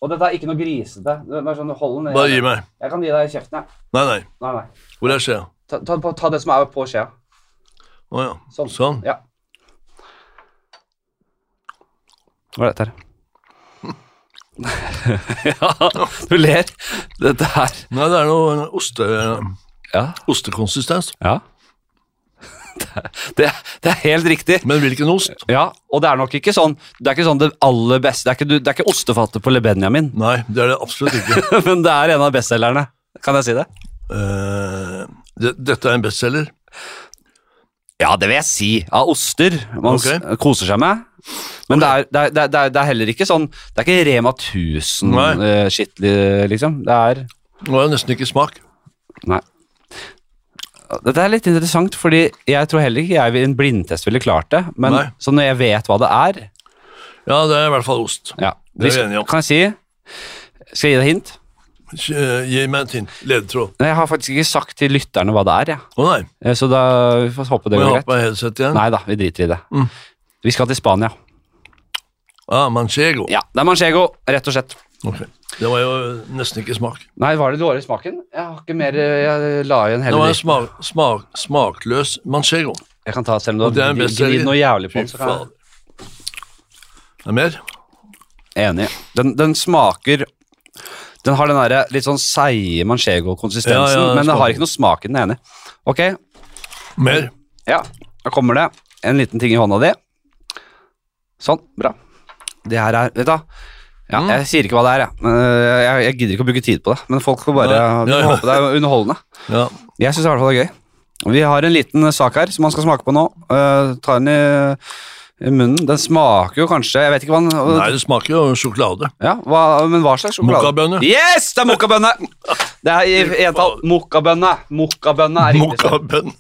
A: Og dette er ikke noe grisete. Det er bare sånn, hold den ned.
B: Bare gi meg.
A: Jeg kan gi deg i kjeften, jeg.
B: Nei, nei.
A: Nei, nei.
B: Hvor er skjea?
A: Ta, ta, ta det som er på skjea.
B: Å ja.
A: Sånn.
B: Sånn.
A: Ja. Hva er dette her? ja, du ler. Dette her.
B: Nei, det er noe oste,
A: Ja.
B: ostekonsistens.
A: ja. Det, det er helt riktig.
B: Men hvilken ost?
A: Ja, og det er nok ikke sånn Det er ikke sånn det aller beste Det er ikke, du- det er ikke ostefatet på Le Benjamin,
B: Nei, det er det absolutt ikke.
A: men det er en av bestselgerne. Kan jeg si det?
B: Eh, det, dette er en bestselger.
A: Ja, det vil jeg si. Av oster man s-
B: Ok.
A: koser seg med. Men det, er, det, er, det, er, det er heller ikke sånn Det er ikke Rema 1000-skitt, eh,
B: Nei.
A: shit, li- liksom. Det er
B: Nå har jeg nesten ikke smak.
A: Nei. Dette er litt interessant, fordi jeg tror heller ikke jeg i en blindtest ville klart det. Men
B: Nei.
A: så når jeg vet hva det er
B: Ja, det er i hvert fall ost.
A: ja,
B: Det er vi
A: hvis-
B: enige om.
A: Kan jeg si Skal jeg gi deg et hint?
B: Eh, Gi meg en hint. Ledetråd.
A: Nei, Jeg har faktisk ikke sagt til lytterne hva det er, jeg.
B: Å nei,
A: Eh, Så da vi får håpe det
B: må jeg
A: går
B: ha
A: greit.
B: på meg headset igjen?
A: Nei da, vi driter i det.
B: Mm.
A: Vi skal til Spania.
B: Ah, manchego.
A: Ja, Det er manchego, rett og slett.
B: Ok. Det var jo nesten ikke smak.
A: Nei, var det dårlig smaken? Jeg har ikke mer eh, Jeg la igjen
B: Det
A: hele
B: var en
A: dritten.
B: smak, smak, smakløs manchego.
A: Jeg kan ta selv om
B: Og
A: du
B: det er
A: har
B: en
A: gnidd
B: bestselger.
A: gnidd noe jævlig på
B: Fy
A: den. så kan jeg-
B: fader. Det er mer?
A: Enig. Den, den smaker Den har den derre litt sånn seige manchego-konsistensen,
B: Ja, ja, den
A: men den har
B: smaker.
A: ikke noe smak i den ene. Ok,
B: Mer.
A: ja, da kommer det en liten ting i hånda di. Sånn, bra. Det her er Vet du hva? Ja,
B: Mm.
A: Jeg sier ikke hva det er, jeg. Men, øh, jeg. Jeg gidder ikke å bruke tid på det. Men folk får bare
B: Nei, ja,
A: de får
B: ja.
A: håpe det er underholdende.
B: Ja.
A: Jeg syns i hvert fall det er gøy. Vi har en liten eh, sak her som man skal smake på nå. Eh, ta den i, i munnen. Den smaker jo kanskje Jeg vet ikke hva den
B: Nei, det smaker jo sjokolade.
A: ja, hva, Men hva slags sjokolade?
B: Mokkabønne.
A: Yes, det er mokkabønne! Det er i i entall mokkabønne. Mokkabønne er riktig. svar.
B: Mokkabønn.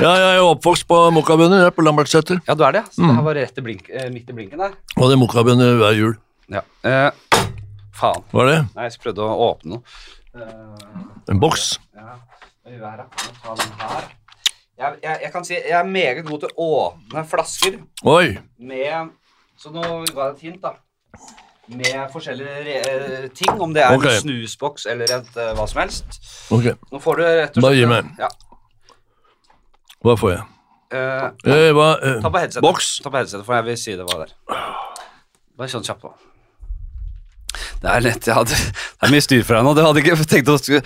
B: Ja, jeg er jo oppvokst på mokkabønner, jeg, på Lambertseter.
A: Ja, du er det. ja. Så det her var rett i blink, eh, midt i blinken der.
B: Og det er mokkabønner hver jul.
A: Ja. Eh, faen.
B: Var det?
A: Nei, jeg prøvde å åpne noe. Eh,
B: En boks?
A: Ja, det gjør jeg da. Jeg tar den her. Jeg, jeg, jeg kan si jeg er meget god til å åpne flasker
B: Oi.
A: med Så nå ga jeg et hint, da. Med forskjellige re- eh, ting, om det er
B: Ok.
A: en snusboks eller et eh, hva som helst.
B: Ok,
A: Nå får du rett og slett
B: Bare gi meg.
A: Ja.
B: hva får jeg?
A: eh,
B: Eh, hva, eh,
A: Ta på headsetet.
B: Boks.
A: Ta på headsetet, for jeg vil si det var der. Bare sånn kjapt på. Det er lett, jeg hadde Det er mye styr for deg nå. Det hadde jeg ikke tenkt å skulle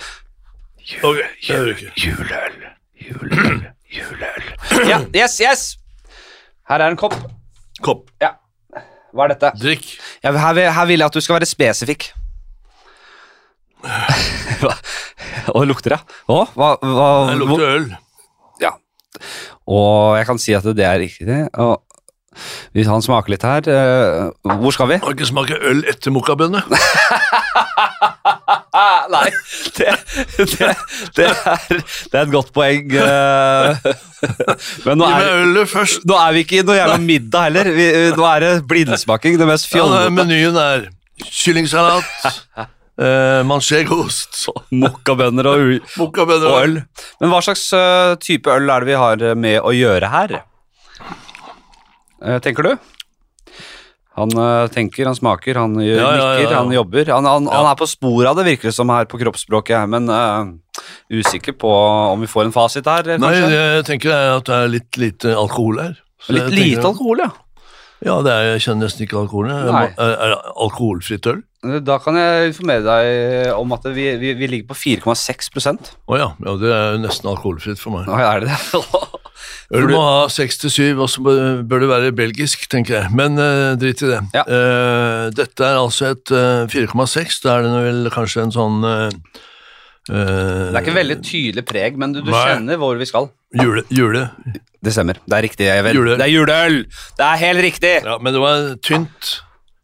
B: Ok, det hører ikke.
A: Juleøl, juleøl, juleøl. Ja, yes, yes! Her er en kopp.
B: Kopp.
A: Ja. Hva er dette?
B: Drikk.
A: Jeg, her, vil- her vil jeg at du skal være spesifikk. Hva? Og lukter det? Å, hva, hva
B: Det
A: hvor-
B: lukter øl.
A: Ja. Og jeg kan si at det er riktig. Og hvis han smaker litt her eh, Hvor skal vi?
B: Har ikke smake øl etter mokkabønne.
A: Ah, nei, det, det, det, er, det er et godt poeng. eh. Men nå
B: Gi meg
A: er,
B: ølet først.
A: nå er vi ikke i noe jævla middag heller. Vi, nå er det blindsmaking. Det mest
B: Ja, nei,
A: fjollete.
B: menyen er kyllingsalat, eh, manchegoost,
A: Mokkabønner og, u-
B: mokkabønner
A: og øl. Men hva slags eh, type øl er det vi har eh, med å gjøre her? Eh, tenker du? Han eh, tenker, han smaker, han gjør,
B: Ja, ja, ja,
A: nikker,
B: ja.
A: han jobber. Han, han, han er på sporet av det, virker det som her på kroppsspråket. Men eh, usikker på om vi får en fasit her, eh, kanskje?
B: Nei, jeg tenker at det er litt lite alkohol her. Så
A: Litt
B: jeg
A: lite
B: tenker-
A: alkohol, ja.
B: Ja, det er, jeg kjenner nesten ikke alkoholen. Jeg
A: Nei.
B: må- Er, er det alkoholfritt øl?
A: Eh, Da kan jeg informere deg om at vi, vi, vi ligger på 4,6 prosent.
B: Å ja, ja, det er jo nesten alkoholfritt for meg.
A: Hva er det det?
B: Øl
A: Fordi-
B: må ha 6-7, og så bør bør det være belgisk, tenker jeg. Men eh, drit i det.
A: Ja.
B: Eh, dette er altså et eh, 4,6. Da er det vel kanskje en sånn eh,
A: Det er ikke veldig tydelig preg, men du, du
B: Nei.
A: kjenner hvor vi skal.
B: Jule, jule.
A: Det stemmer. Det er riktig. Jeg vet.
B: Juleøl.
A: Det er juleøl! Det er helt riktig!
B: Ja, men det var tynt.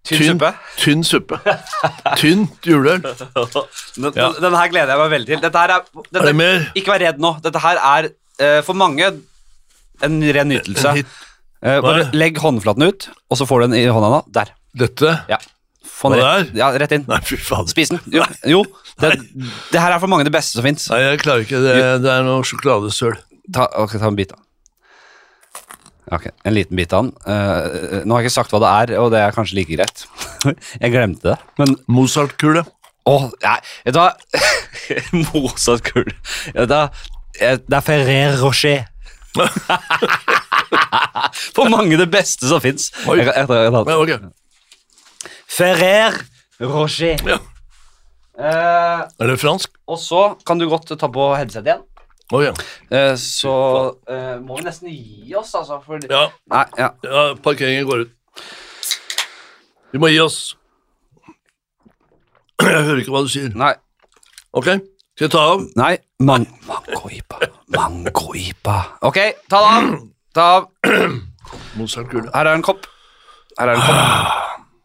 A: Tynn
B: Tynn-
A: suppe.
B: Tynn suppe. Tynt juleøl.
A: Den,
B: Ja.
A: den- den her gleder jeg meg veldig til. Dette her er,
B: Er
A: dette,
B: det mer?
A: Ikke vær redd nå. Dette her er eh, for mange en ren nytelse.
B: En hit.
A: Eh, bare
B: Nei.
A: legg håndflaten ut, og så får du den i hånda nå. Der.
B: Dette?
A: Ja. Få den
B: Hva
A: rett, ja, rett inn.
B: Nei, fy fader.
A: Spis den. Jo, jo. Det, det her er for mange det beste som fins.
B: Nei, jeg klarer ikke det. Det er noe sjokoladesøl.
A: Ta, ok, ta en bit av den. Ok, en liten bit av den. Eh, nå har jeg ikke sagt hva det er, og det er kanskje like greit. jeg glemte det, men
B: Mozart-kule.
A: Åh, nei, vet du hva? Mozart-kul. Vet du hva? Eh, Det er Ferrer Rocher. For mange det beste som fins.
B: Oi.
A: Ferrer
B: Ja, ok.
A: Rocher.
B: Ja.
A: Eh,
B: Er det fransk?
A: og så kan du godt ta på headsetet igjen.
B: Å ja.
A: Eh, så eh, må vi nesten gi oss, altså. For...
B: ja.
A: Nei, ja.
B: Ja, parkeringen går ut. Vi må gi oss. Jeg hører ikke hva du sier.
A: Nei.
B: Ok, skal jeg ta av?
A: Nei. Man mangoipa. Mangoipa. Ok, ta det av. Ta det av.
B: Mozartkule.
A: Her er en kopp. Her er en kopp.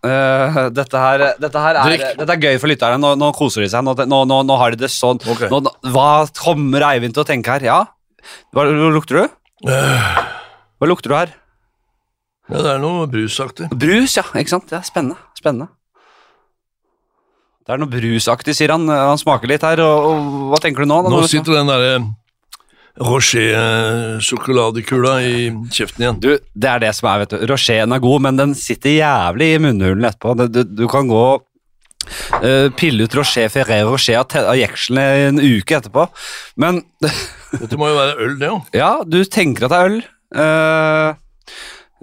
A: Eh, dette, her, dette her er
B: Drikk.
A: Dette er gøy for lytterne. Nå, nå koser de seg. Nå, nå, nå, nå har de det sånn.
B: Ok.
A: Nå, nå- hva kommer Eivind til å tenke her? Ja? Hva, hva lukter du? Hva lukter du her?
B: Ja, det er noe brusaktig.
A: Brus, ja. Ikke sant? Ja, spennende. Spennende. Det er noe brusaktig, sier han. Eh, Han smaker litt her. Og, og hva tenker du nå? da?
B: Nå
A: Når du-
B: sitter den eh, derre Rocher-sjokoladekula i kjeften igjen.
A: Du, det er det som er, vet du. Rocheen er god, men den sitter jævlig i munnhulen etterpå. Du, du, du kan gå og eh, pille ut Rocher Ferrer Rocher av te- av jekslene i en uke etterpå. Men
B: Dette må jo være øl, det òg.
A: ja, du tenker at det er øl. Eh,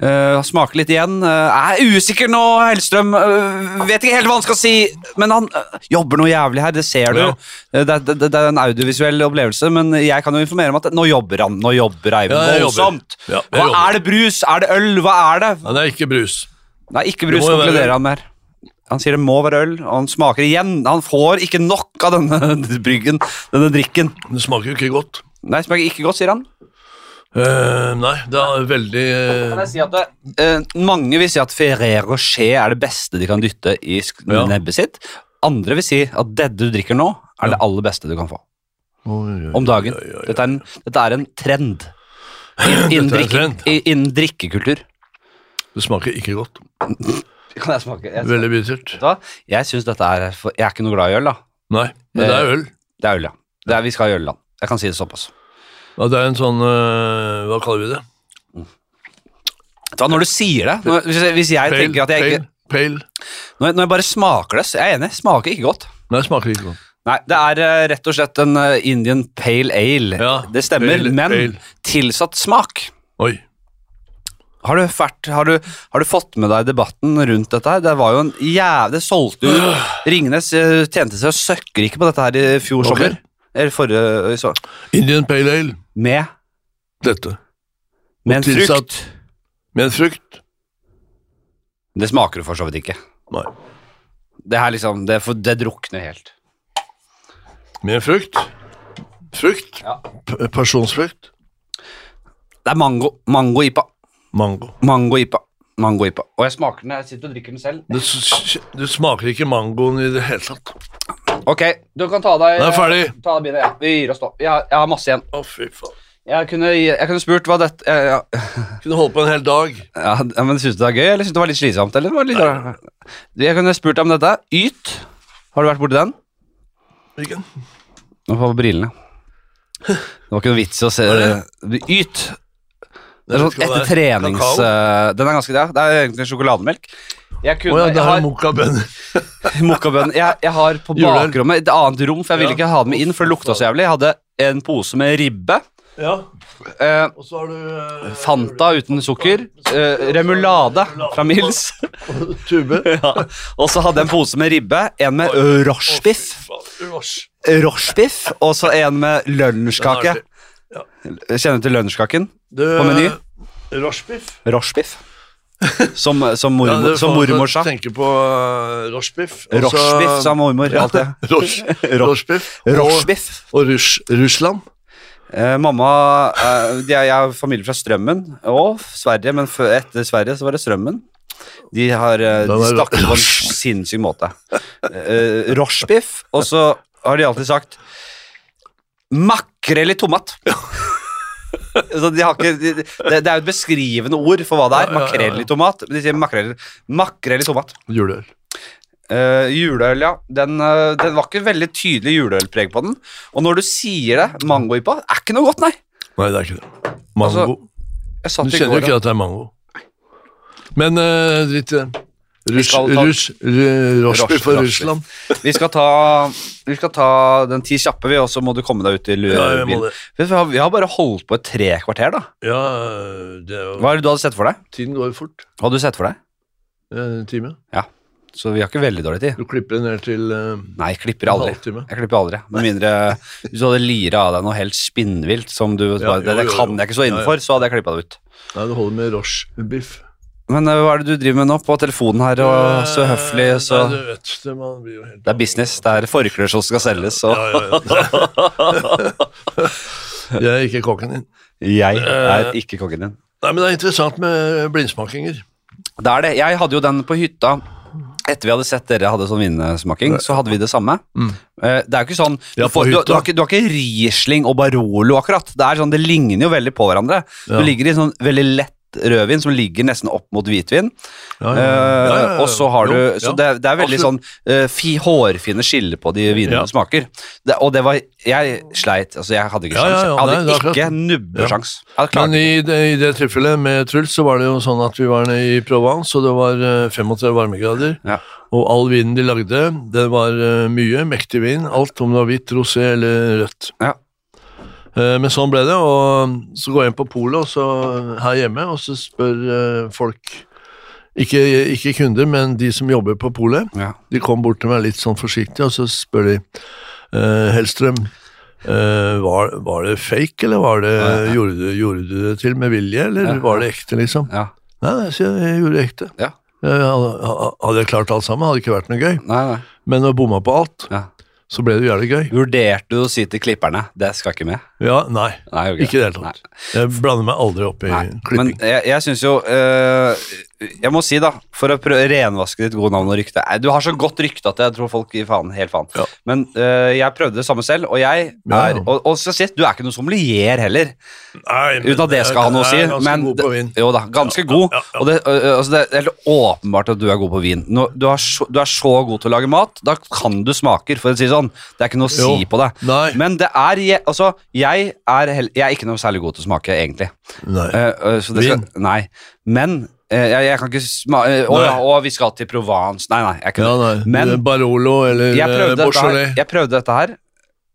A: eh, smaker litt igjen. Eh, jeg er usikker nå, Hellstrøm. Eh, vet ikke helt hva han skal si. Men han eh, jobber noe jævlig her, det ser du.
B: Ja.
A: Eh, det, det, det er en audiovisuell opplevelse, men jeg kan jo informere om at nå jobber han. Nå jobber Eivind
B: Ja, jeg jobber.
A: voldsomt.
B: Ja, jeg
A: Hva
B: jobber.
A: er det brus? Er det øl? Hva er det?
B: Nei, det er ikke brus.
A: Nei, ikke
B: Det
A: brus,
B: må jo være
A: konkluderer
B: øl.
A: han mer. Han sier det må være øl, og han smaker igjen. Han får ikke nok av denne bryggen, denne drikken.
B: Det smaker jo ikke godt.
A: Nei, smaker ikke godt, sier han.
B: Eh, nei, det er veldig eh,
A: si at mange vil si at Ferrero Rocher er det beste de kan dytte i sk-
B: Ja.
A: nebbet sitt. Andre vil si at det du drikker nå, er det aller beste du kan få
B: oi, oi,
A: om dagen.
B: oi, oi, oi.
A: Dette er en, dette er en trend innen
B: Dette er en
A: drikke-
B: trend.
A: i- innen drikkekultur.
B: Det smaker ikke godt.
A: Kan jeg smake? Jeg,
B: Veldig bittert.
A: Vet du hva? jeg synes dette er for, Jeg er ikke noe glad i øl, da.
B: Nei, men det er øl.
A: Det er øl, ja. Det er, vi skal i ølland. Jeg kan si det såpass.
B: Ja, det er en sånn eh, Hva kaller vi det?
A: Vet du hva, når du sier det når, hvis, jeg- hvis jeg tenker at jeg ikke
B: pale, pale.
A: når, jeg- når jeg bare smaker det, så jeg er enig, smaker ikke godt.
B: Nei, det smaker ikke godt.
A: Nei, det er eh, rett og slett en eh, Indian Pale Ale.
B: Ja,
A: det stemmer,
B: pale
A: men
B: ale.
A: tilsatt smak.
B: Oi.
A: Har du, vært, har, du, har du fått med deg debatten rundt dette her? Det var jo en jæv... Det solgte jo Ringnes eh, tjente seg søkkrike på dette her i fjor
B: Ok.
A: sommer. Eller forrige så.
B: Indian pale ale.
A: Med,
B: Dette.
A: med en frukt.
B: Tilsatt med en frukt.
A: Det smaker du for så vidt ikke.
B: Nei.
A: Det her liksom, det, for, det drukner helt.
B: Med en frukt. Frukt.
A: Ja.
B: P- Pasjonsfrukt.
A: Det er mango. Mango-ipa.
B: Mango.
A: Mango-ipa. Mango-ipa. Og jeg smaker den, jeg sitter og drikker den selv.
B: Det, s- det smaker ikke mangoen i det hele tatt.
A: Ok, du kan ta deg
B: Den er ferdig.
A: Ta deg bilen, ja. Vi gir oss nå. Jeg, har- jeg har masse igjen.
B: Å, fy faen.
A: Jeg kunne, jeg kunne spurt hva dette ja, ja.
B: Kunne holdt på en hel dag.
A: ja, ja, men Syns du det er gøy, eller syns du det var litt slitsomt? Eller? Det var litt, jeg kunne spurt deg om dette. Yt. Har du vært borti den?
B: Hvilken?
A: Nå får jeg brillene. Det var ikke noe vits i å se Yt. Det er sånn
B: Skal
A: etter
B: være
A: trenings...
B: kakao?
A: eh, Den er ganske ja, Det er egentlig sjokolademelk. Jeg
B: Å
A: kunne
B: ja, det
A: jeg
B: her er
A: har,
B: mokkabønner.
A: Mokkabønn. Jeg, jeg har på
B: Juleøl.
A: bakrommet et annet rom, for jeg ville
B: Ja.
A: ikke ha det med inn, for det lukta så jævlig. Jeg hadde en pose med ribbe.
B: Ja,
A: eh,
B: og så har du eh,
A: Fanta uten sukker, eh, remulade fra Mills,
B: Tube.
A: ja. og så hadde jeg en pose med ribbe, en med eh, rochebiff,
B: Roche.
A: rochebiff, og så en med lunsjkake.
B: Den er
A: Kjenner du til lunsjkaken?
B: Du,
A: På meny?
B: Rochebiff.
A: Rochebiff. Som, som, mormor, som mormor sa.
B: Tenker på uh, rochebiff. og så-
A: Rochebiff, sa mormor alltid.
B: Roche- Rochebiff. Og,
A: Rochebiff.
B: og Rus Russland.
A: Eh, mamma eh, de er, Jeg har familie fra Strømmen og Sverige, men før, etter Sverige så var det Strømmen. De har eh,
B: Da
A: de
B: var det
A: snakker på en
B: Roche.
A: sinnssyk måte. Eh, Rochebiff, og så har de alltid sagt makrell i tomat. Så de har ikke, de, de- det, det er jo et beskrivende ord for hva det er.
B: Ja, ja, ja, ja.
A: Makrell i tomat. men De sier makrell, makrell i tomat.
B: Juleøl.
A: Eh, juleøl, ja. Den, eh, den var ikke veldig tydelig juleølpreg på den. Og når du sier det, mangoipa er ikke noe godt, nei.
B: Nei, det er ikke det. Mango.
A: Altså, Jeg satt
B: du
A: i
B: kjenner jo
A: går
B: ikke at det er mango. Men uh, dritt i det. Rus,
A: skal ta-
B: rus, ru- rochebiff
A: Roche-
B: og
A: rochebiff.
B: Russland.
A: Vi skal ta, vi skal ta den ti kjappe, vi, og så må du komme deg ut til
B: Ja, jeg må
A: bilen. Vi
B: det.
A: har, vi har bare holdt på et tre kvarter, da.
B: Ja, det er jo
A: Hva er det du hadde sett for deg?
B: Tiden går jo fort.
A: Hva hadde du sett for deg?
B: Eh, En time.
A: Ja. Så vi har ikke veldig dårlig tid.
B: Du klipper det ned til eh,
A: Nei, jeg klipper aldri.
B: En halvtime.
A: Jeg klipper aldri. Med mindre hvis du hadde lira av deg noe helt spinnvilt som du bare,
B: jo,
A: Det, det
B: jo, jo.
A: kan jeg ikke så innenfor, så hadde jeg klippa det ut.
B: Nei, det holder med roche-biff.
A: Men eh, hva er det du driver med nå på telefonen her, og så høflig, så
B: Eh, Nei, du vet, det, man blir jo helt
A: Det er business. Det er forklær som skal selges, og
B: Ja, ja, ja. Jeg er ikke kokken din.
A: jeg
B: Eh,
A: er ikke kongen din.
B: Nei, men det er interessant med blindsmakinger.
A: Det er det. Jeg hadde jo den på hytta. Etter vi hadde sett dere hadde sånn vinsmaking, så hadde vi det samme. Eh, Det er jo ikke sånn Du,
B: Mm. Ja,
A: får,
B: på
A: du,
B: hytta.
A: du, har ikke, du har ikke Riesling og Barolo, akkurat. Det er sånn, det ligner jo veldig på hverandre.
B: Ja.
A: Du ligger i sånn veldig lett rødvin som ligger nesten opp mot hvitvin.
B: Ja, ja,
A: Eh,
B: ja, ja, ja.
A: Og så har du
B: Jo,
A: Så
B: ja.
A: det, er- det er veldig
B: Absolutt.
A: sånn eh, fi, hårfine skiller på de vinene
B: Ja.
A: du smaker. Det, og det var Jeg sleit. Altså, jeg hadde ikke
B: Ja, ja,
A: sjans.
B: ja, nei,
A: jeg
B: det er
A: hadde ikke nubbesjans. Jeg hadde klart
B: Men i det, i det tilfellet med Truls, så var det jo sånn at vi var nede i Provence, og det var eh, 35 varmegrader.
A: Ja.
B: Og all vinen de lagde, det var eh, mye, mektig vin. Alt om det var hvitt, rosé eller rødt.
A: Ja.
B: Eh, Men sånn ble det, og så går jeg inn på polet og så- uh, her hjemme, og så spør eh, folk ikke, ikke kunder, men de som jobber på polet.
A: ja.
B: De kom bort til meg litt sånn forsiktig, og så spør de eh, Hellstrøm, eh, var, var det fake, eller var det, Gjorde, du, gjorde du det til med vilje, eller
A: Ja.
B: var det ekte, liksom?
A: ja.
B: Nei, nei, sier jeg, jeg gjorde det ekte.
A: Ja.
B: Jeg hadde, hadde jeg klart alt sammen, hadde det ikke vært noe gøy.
A: Nei, nei.
B: Men når jeg bomma på alt,
A: Ja.
B: så ble det jo jævlig gøy.
A: Vurderte du å si til klipperne det skal ikke med?
B: Ja, nei.
A: Nei, gjorde
B: Ikke i det hele tatt. Jeg blander meg aldri opp i
A: Nei. Men
B: klipping.
A: jeg, jeg syns jo eh, Jeg må si, da, for å prøve å renvaske ditt gode navn og rykte Nei, Du har så godt rykte at jeg tror folk gir faen helt faen.
B: Ja.
A: Men eh, jeg prøvde det samme selv, og jeg
B: Ja, ja.
A: er Og, og så sist, du er ikke noen sommelier heller,
B: Nei, men
A: uten at det
B: jeg-
A: skal ha noe å si.
B: Jeg er ganske
A: Men
B: god på vin.
A: det- jo da, ganske god. Og det, ø, ø, altså det er helt åpenbart at du er god på vin. Nå, du, er så, du er så god til å lage mat, da kan du smaker, for å si det sånn. Det er ikke noe å si
B: Jo.
A: på det.
B: Nei.
A: Men det er je- Altså, jeg er, hell- jeg er ikke noe særlig god til å smake, egentlig.
B: Nei.
A: Eh, eh, så det skal, nei. Men eh, jeg, jeg kan ikke smake Å
B: Nei.
A: ja, å, vi skal til Provence. Nei, nei. Jeg,
B: Ja,
A: kunne,
B: nei.
A: Men-
B: Det er Barolo eller
A: jeg,
B: eh,
A: prøvde, dette her,
B: Beaujolais.
A: jeg prøvde dette her.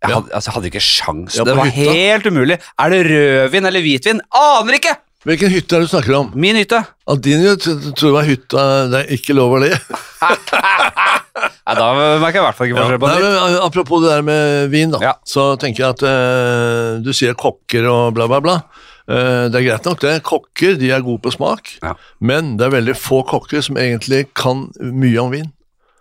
A: Jeg
B: Ja.
A: hadde, altså, jeg hadde ikke sjans.
B: Ja,
A: det
B: på
A: var
B: hytta.
A: helt umulig. Er det rødvin eller hvitvin? Aner ikke!
B: Hvilken hytte er det du snakker om?
A: Min hytte.
B: Aldinio tror jeg var hytta Det er ikke lov å le.
A: Nei, da merker jeg i hvert fall ikke
B: Nei,
A: forskjell på det.
B: men eh, apropos det der med vin, da.
A: Ja.
B: Så tenker jeg at eh, du sier kokker og bla, bla, bla. Eh, det er greit nok, det. Kokker de er gode på smak,
A: Ja.
B: men det er veldig få kokker som egentlig kan mye om vin.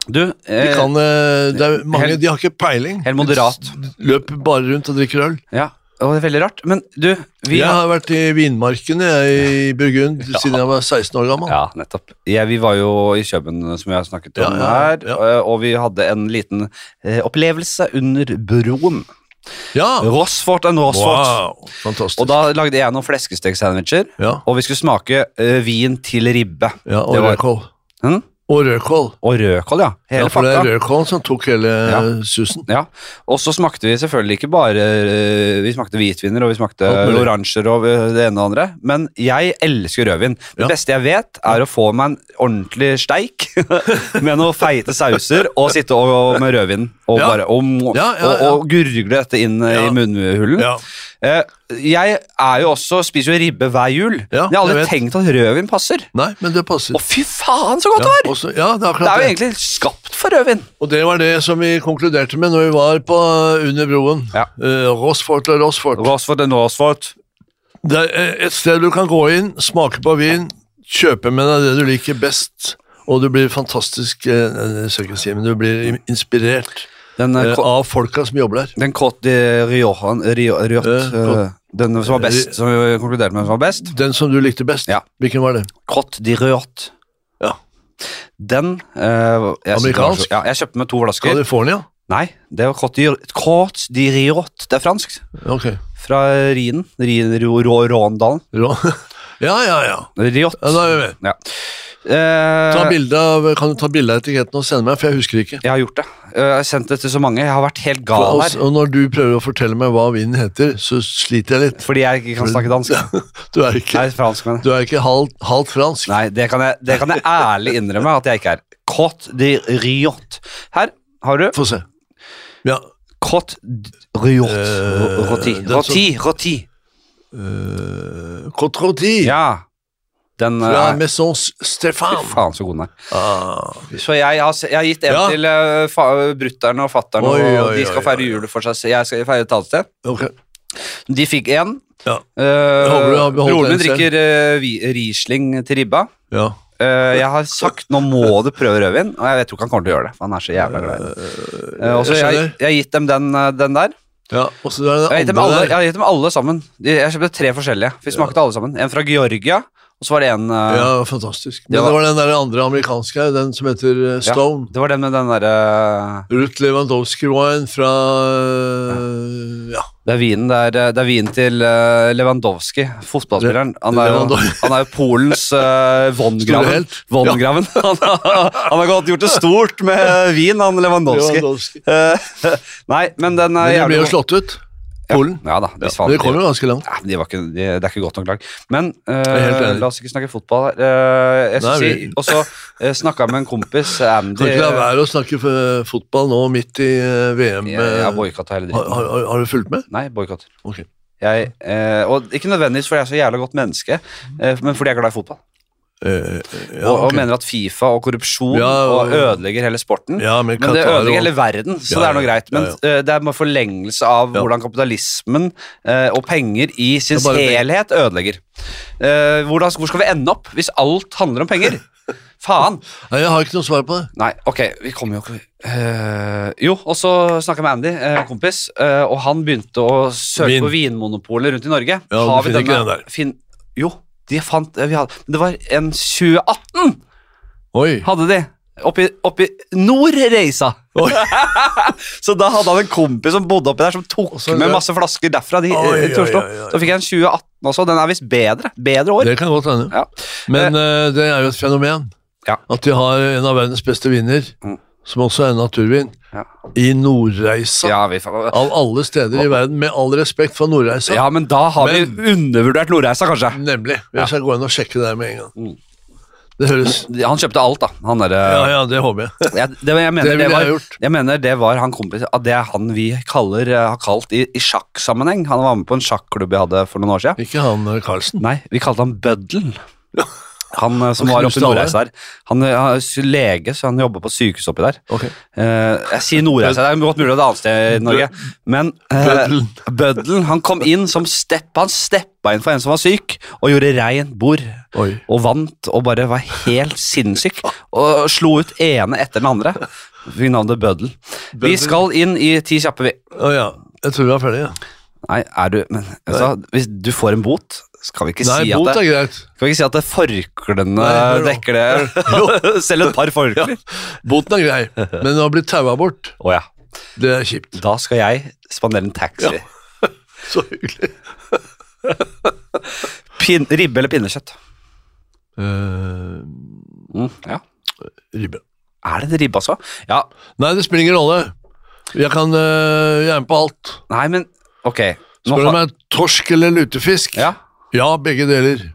A: Du,
B: De,
A: eh,
B: kan, eh, det er mange,
A: helt-
B: de har ikke peiling.
A: helt moderat.
B: Løper bare rundt og drikker øl.
A: Ja, og det er veldig rart. Men du, vi
B: jeg har vært i vinmarkene jeg, i Burgund siden jeg var 16 år gammel.
A: Ja, nettopp. Ja, vi var jo i Kjøben, som jeg har snakket om
B: Ja, ja,
A: her,
B: ja.
A: eh, og vi hadde en liten eh, opplevelse under broen.
B: Ja.
A: Rossfort enn Rossfort.
B: Wow, fantastisk.
A: Og da lagde jeg noen fleskesteksandwicher,
B: ja.
A: og vi skulle smake eh, vin til ribbe.
B: Ja, og
A: Det var-
B: rødkål.
A: Hm?
B: Og rødkål.
A: Og rødkål, ja.
B: Ja,
A: Hele
B: for det er
A: pakka.
B: rødkålen som tok hele
A: Ja.
B: susen.
A: Ja, Og så smakte vi selvfølgelig ikke bare eh, Vi smakte hvitviner, og vi smakte
B: Alt mulig.
A: oransjer og eh, det ene og det andre. Men jeg elsker rødvin. Det
B: Ja.
A: beste jeg vet, er å få meg en ordentlig steik med noen feite sauser og sitte og, og med rødvin og
B: Ja.
A: bare og,
B: Ja, ja, ja.
A: Og, og gurgle dette inn eh,
B: Ja.
A: i munnhulen.
B: Ja.
A: Eh, jeg er jo også, spiser jo ribbe hver jul.
B: Ja,
A: Men jeg har aldri
B: jeg vet.
A: tenkt at rødvin passer.
B: Nei, men det passer.
A: Å, fy faen, så godt
B: ja,
A: det var!
B: også, ja, det er
A: Det
B: akkurat
A: er jo
B: det.
A: egentlig skapt for rødvin.
B: Og det var det som vi konkluderte med når vi var på Under broen.
A: Ja.
B: Eh, Rossfort og Rossfort.
A: Rossford and Rossford.
B: Det er eh, et sted du kan gå inn, smake på vin, kjøpe med deg det du liker best, og du blir fantastisk eh, nei, det skal jeg ikke si, men du blir im- inspirert
A: Den eh,
B: eh, av folka som jobber der.
A: Den eh, Côte de Riojan Rio, Riot,
B: Eh,
A: eh, Den som var
B: Ri-
A: best, som vi konkluderte med som var best.
B: Den som du likte best.
A: Ja.
B: Hvilken var det?
A: Côte de Riot.
B: Ja.
A: Den eh, jeg synes det var
B: Amerikansk?
A: så- Ja, jeg kjøpte med to flasker.
B: California?
A: Nei, det var Côte de, Côte de Riot. Det er fransk.
B: Ok.
A: Fra Rhinen. Rhin, Ro- Ro- Råndalen.
B: Rå- ja, ja, ja.
A: Riot.
B: ja da er vi med.
A: Ja. Eh,
B: Ta bilde av, kan du ta bilde av etiketten og sende meg, for jeg husker ikke.
A: jeg har gjort det. Eh, jeg har sendt det til så mange. Jeg har vært helt gal
B: Og,
A: her.
B: og når du prøver å fortelle meg hva vinen heter, så sliter jeg litt.
A: Fordi jeg ikke kan snakke dansk.
B: Du er ikke,
A: Nei, franskmenn.
B: du er ikke halvt, halvt fransk.
A: Nei, det kan jeg, det kan jeg ærlig innrømme at jeg ikke er. Côte de Riot. Her har du
B: Få se. Ja,
A: Côte de Riot.
B: Eh,
A: Roti.
B: den som-
A: Roti. Roti.
B: Eh, Cotroti.
A: Ja. Den
B: Fra
A: eh, er
B: Maison Stefan.
A: faen så god den er.
B: Ah,
A: Så jeg har, s- jeg har gitt en
B: Ja.
A: til eh, fa- brutter'n og fatter'n,
B: Oi,
A: og
B: oi,
A: de
B: oi,
A: skal feire
B: oi.
A: jul for seg selv. Jeg skal feire et annet sted.
B: ok.
A: De fikk én.
B: Ja.
A: Eh,
B: håper du har beholdt
A: broren min
B: den selv.
A: drikker eh, vi- Riesling til ribba.
B: Ja.
A: Eh, jeg har sagt nå må du prøve rødvin, og jeg tror ikke han kommer til å gjøre det. For han er så jævla glad i det. Eh, og så
B: jeg
A: jeg,
B: skjønner.
A: jeg har gitt dem den, eh, den der.
B: Ja, og så er
A: Jeg har
B: det
A: gitt
B: den
A: dem alle,
B: andre
A: jeg
B: der.
A: har gitt dem alle sammen. De- Jeg kjøpte tre forskjellige. Vi smakte alle sammen. En fra Georgia, og så var det en eh,
B: Ja, fantastisk.
A: Det
B: Men det
A: var-
B: var, den der andre amerikanske her, den som heter eh,
A: ja,
B: Stone.
A: Det var den med den eh, derre
B: Ruth Lewandowski-wine fra eh, Ja.
A: Det er vinen det er, det er vinen til eh, Lewandowski, fotballspilleren. Han er jo,
B: Lewandowski.
A: han er jo Polens eh, Von
B: Store
A: Graven.
B: helt.
A: Von Graven. Han, har- han har godt gjort det stort med vin, han Lewandowski.
B: Lewandowski.
A: Eh, Nei, men den er
B: Men de
A: jævlig
B: ble
A: god.
B: jo slått ut. Polen.
A: Ja da, de
B: Ja,
A: svant.
B: men de kom jo ganske langt.
A: Nei, men de var ikke, de, det er ikke godt nok lag. Men
B: er helt
A: eh,
B: enig.
A: la oss ikke snakke fotball her. Eh, jeg skal
B: Nei,
A: si, og så eh, snakka jeg med en kompis, eh, Andy
B: Kan ikke la være å snakke f- fotball nå midt i eh, VM.
A: Jeg, jeg
B: eh,
A: boikotta hele
B: har,
A: dritten.
B: har, har du fulgt med?
A: Nei, boikotter.
B: Ok.
A: Jeg, eh, og ikke nødvendigvis fordi jeg er så jævla godt menneske, eh, men fordi jeg er glad i fotball.
B: Eh, ja,
A: og, og
B: ok.
A: mener at Fifa og korrupsjon
B: Ja,
A: og
B: og-
A: ødelegger hele sporten.
B: ja, men
A: Men det
B: Qatar
A: ødelegger
B: og-
A: hele verden, så
B: Ja,
A: det er noe
B: ja,
A: greit. Men
B: ja,
A: eh, det er en forlengelse av
B: Ja.
A: hvordan kapitalismen eh, og penger i sin
B: Det er bare penger.
A: helhet ødelegger. Eh, hvordan, hvor skal vi ende opp hvis alt handler om penger? Faen!
B: Nei, jeg har ikke noe svar på det.
A: Nei, ok, vi kommer jo ikke Eh, Jo, og så snakka jeg med Andy, eh, kompis, eh, og han begynte å søke
B: Vin.
A: på vinmonopolet rundt i Norge.
B: Ja,
A: Har
B: du
A: vi
B: finner ikke
A: denne-
B: den der.
A: Fin jo, de fant eh, vi hadde, Men det var en 2018!
B: Oi.
A: hadde de. Oppi, oppi Nordreisa. så da hadde han en kompis som bodde oppi der, som tok
B: Og så
A: med
B: løp-
A: masse flasker derfra de, eh,
B: Oi,
A: til Oslo.
B: oi, oi, oi.
A: Så fikk jeg en 2018 også. Den er visst bedre. Bedre år.
B: Det kan godt hende.
A: Ja.
B: Men eh, det er jo et fenomen.
A: Ja.
B: At de har en av verdens beste viner,
A: Mm.
B: som også er en naturvin,
A: Ja.
B: i Nordreisa.
A: Ja, vi, fa-
B: Av alle steder i verden, med all respekt for Nordreisa.
A: ja, men da har
B: Men-
A: vi undervurdert Nordreisa, kanskje.
B: Nemlig. Jeg skal gå inn og sjekke det her med en gang.
A: Mm.
B: Det høres
A: Han kjøpte alt, da. Han derre
B: Ja, ja, det håper jeg.
A: jeg, det, jeg, mener
B: Det
A: det
B: ville jeg
A: var,
B: gjort.
A: jeg mener det var han kompis at Det er han vi kaller, eh, har kalt i, i sjakksammenheng. Han var med på en sjakklubb jeg hadde for noen år siden.
B: Ikke han eh, Carlsen.
A: Nei, vi kalte han Bøddelen. Han eh, som
B: Han
A: var oppe
B: knuste
A: i
B: alle.
A: Nordreisa der. Han eh, er s- lege, så han jobber på sykehus oppi der.
B: Ok.
A: Eh, jeg sier Nordreisa, det er godt mulig det er et annet sted i Norge. Men eh,
B: Bøddelen.
A: Bøddelen, han kom inn som stepp, han steppa inn for en som var syk, og gjorde rein bord.
B: Oi.
A: Og vant, og bare var helt sinnssyk. Og slo ut ene etter den andre. Fikk navnet Bøddel. Vi
B: Bøddelen.
A: skal inn i Ti kjappe, vi.
B: Å ja. Jeg tror vi var ferdige. Ja.
A: Nei, er du Men altså, hvis du får en bot, skal vi ikke
B: Nei,
A: si at
B: bot
A: det
B: er greit.
A: kan vi ikke si at det forklene
B: Nei, jo.
A: dekker det? Selv et par forklær.
B: Boten er grei, men å bli taua bort,
A: Å ja.
B: det er kjipt.
A: Da skal jeg spandere en taxi.
B: Så hyggelig.
A: Pin, ribbe eller pinnekjøtt? Mm,
B: Eh,
A: Ja.
B: ribbe.
A: Er det en ribbe, altså? Ja.
B: Nei, det spiller ingen rolle. Jeg kan eh, Jeg er med på alt.
A: Nei, men ok. Nå
B: Spør du
A: har-
B: meg torsk eller lutefisk?
A: Ja.
B: Ja, begge deler.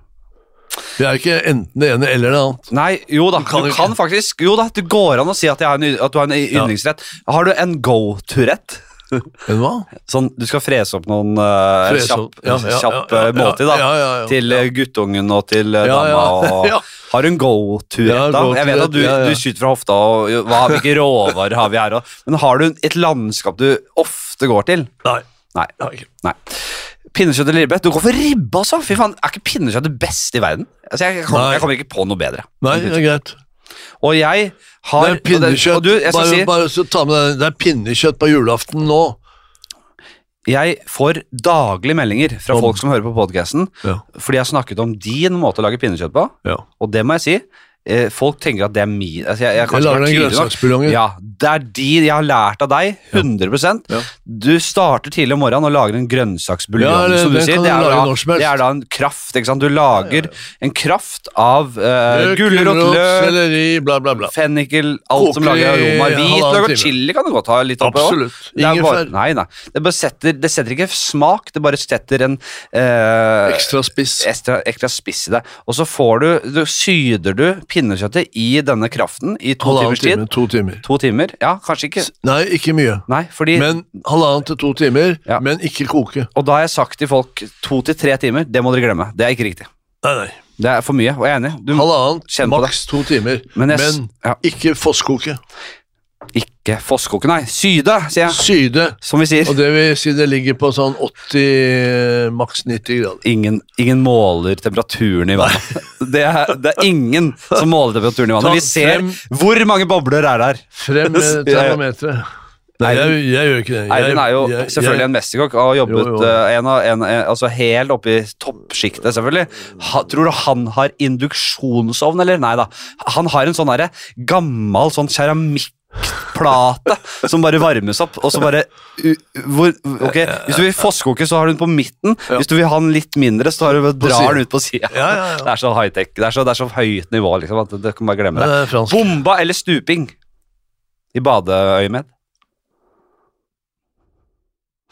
B: Det er ikke enten det ene eller det annet.
A: Nei, jo da. Du
B: kan
A: kan,
B: jo
A: faktisk Jo da, det går an å si at, jeg har en, y- at du har en y- yndlingsrett. Har du en go-to-rett?
B: Men hva?
A: Sånn, du skal frese opp noen eh,
B: Frese
A: kjapp,
B: opp. Ja, ja,
A: kjapp
B: ja, ja,
A: eh, måltid, da.
B: ja, ja, ja.
A: Til eh, guttungen og til eh,
B: Ja, ja,
A: dama. Og,
B: ja.
A: Har du en go-to-rett,
B: Ja,
A: da? Jeg vet
B: go-to-rett,
A: at du,
B: ja, ja.
A: du skyter fra hofta, og jo, hva, hvilke råvarer har vi her? Og, men har du et landskap du ofte går til?
B: Nei.
A: Nei.
B: Ja, ikke.
A: nei. Pinnekjøtt eller ribbe? Du går for ribbe, altså! Fy faen, Er ikke pinnekjøtt det beste i verden? Altså, jeg, kommer-
B: Nei.
A: jeg kommer ikke på noe bedre.
B: Nei, det er greit.
A: Og jeg
B: Det
A: har
B: er pinnekjøtt.
A: Og, det, og du, jeg skal
B: bare,
A: si
B: bare så ta med deg, det er pinnekjøtt på julaften nå.
A: Jeg får daglige meldinger fra
B: Om-
A: folk som hører på podkasten,
B: Ja.
A: fordi jeg har snakket om din måte å lage pinnekjøtt på,
B: Ja.
A: og det må jeg si. eh, Folk tenker at det er min altså jeg, jeg, har
B: Jeg
A: kanskje
B: lager
A: vært
B: den
A: tydelig nok.
B: grønnsaksbuljongen.
A: Ja, Det er de jeg har lært av deg, 100
B: Ja.
A: Du starter tidlig om morgenen og lager en grønnsaksbuljong.
B: Ja, eller
A: som du
B: den
A: sier.
B: kan
A: Det,
B: du
A: er
B: lage
A: da,
B: når som helst.
A: det er da en kraft. ikke sant? Du lager en kraft av uh,
B: Løk,
A: gulrot, løk,
B: Eh, selleri, bla, bla, bla.
A: fennikel, alt som
B: Koker
A: lager
B: i
A: aroma. Hvitløk
B: halvannen
A: og
B: time.
A: chili kan du godt ha litt oppi også.
B: Absolutt.
A: Det er bare,
B: Ingefær.
A: nei, nei. Det, bare setter, det setter ikke smak, det bare setter en eh,
B: Ekstra spiss.
A: ekstra, ekstra spiss i det. Og så får du, du syder du pinnekjøttet i denne kraften i to timers
B: Halvannen
A: tid.
B: time. To timer.
A: To timer? Ja, kanskje ikke.
B: Nei, ikke mye.
A: Nei, fordi,
B: Men halvannen til to timer,
A: Ja.
B: men ikke koke.
A: og da har jeg sagt til folk to til tre timer, det må dere glemme. Det er ikke riktig.
B: Nei, nei.
A: Det er for mye, og jeg er enig. Du må
B: Halvannet,
A: Kjenn på det.
B: maks to timer.
A: Men
B: Men,
A: jeg s- ja.
B: ikke fosskoke.
A: ikke fosskoke, nei. Syde, sier jeg.
B: Syde.
A: Som vi sier.
B: Og det vil si det ligger på sånn 80, maks 90 grader.
A: Ingen, ingen måler temperaturen i vannet. Det er, det er ingen som måler temperaturen i
B: Ta
A: vannet. Vi ser
B: frem-
A: hvor mange bobler er der.
B: Frem med
A: Ja, ja.
B: termometeret. Nei, jeg, jeg gjør ikke det. Jeg,
A: Eivind er jo
B: jeg-
A: selvfølgelig en mesterkokk og har jobbet
B: Jo, jo.
A: eh, En av, en, en, altså helt oppe i toppsjiktet, selvfølgelig. Ha, tror du han har induksjonsovn, eller? Nei da. Han har en sånn derre gammel sånn keramikkplate som bare varmes opp, og så bare u, hvor, Ok, hvis du vil fosskoke, så har du den på midten. Hvis du vil ha den litt mindre, så har du,
B: siden.
A: drar den ut på sida.
B: Ja, ja, ja.
A: Det er så high-tech. Det, er så- det er så høyt nivå, liksom, at du kan bare glemme
B: Men
A: det.
B: det er fransk.
A: Bomba eller stuping? I badeøyemed?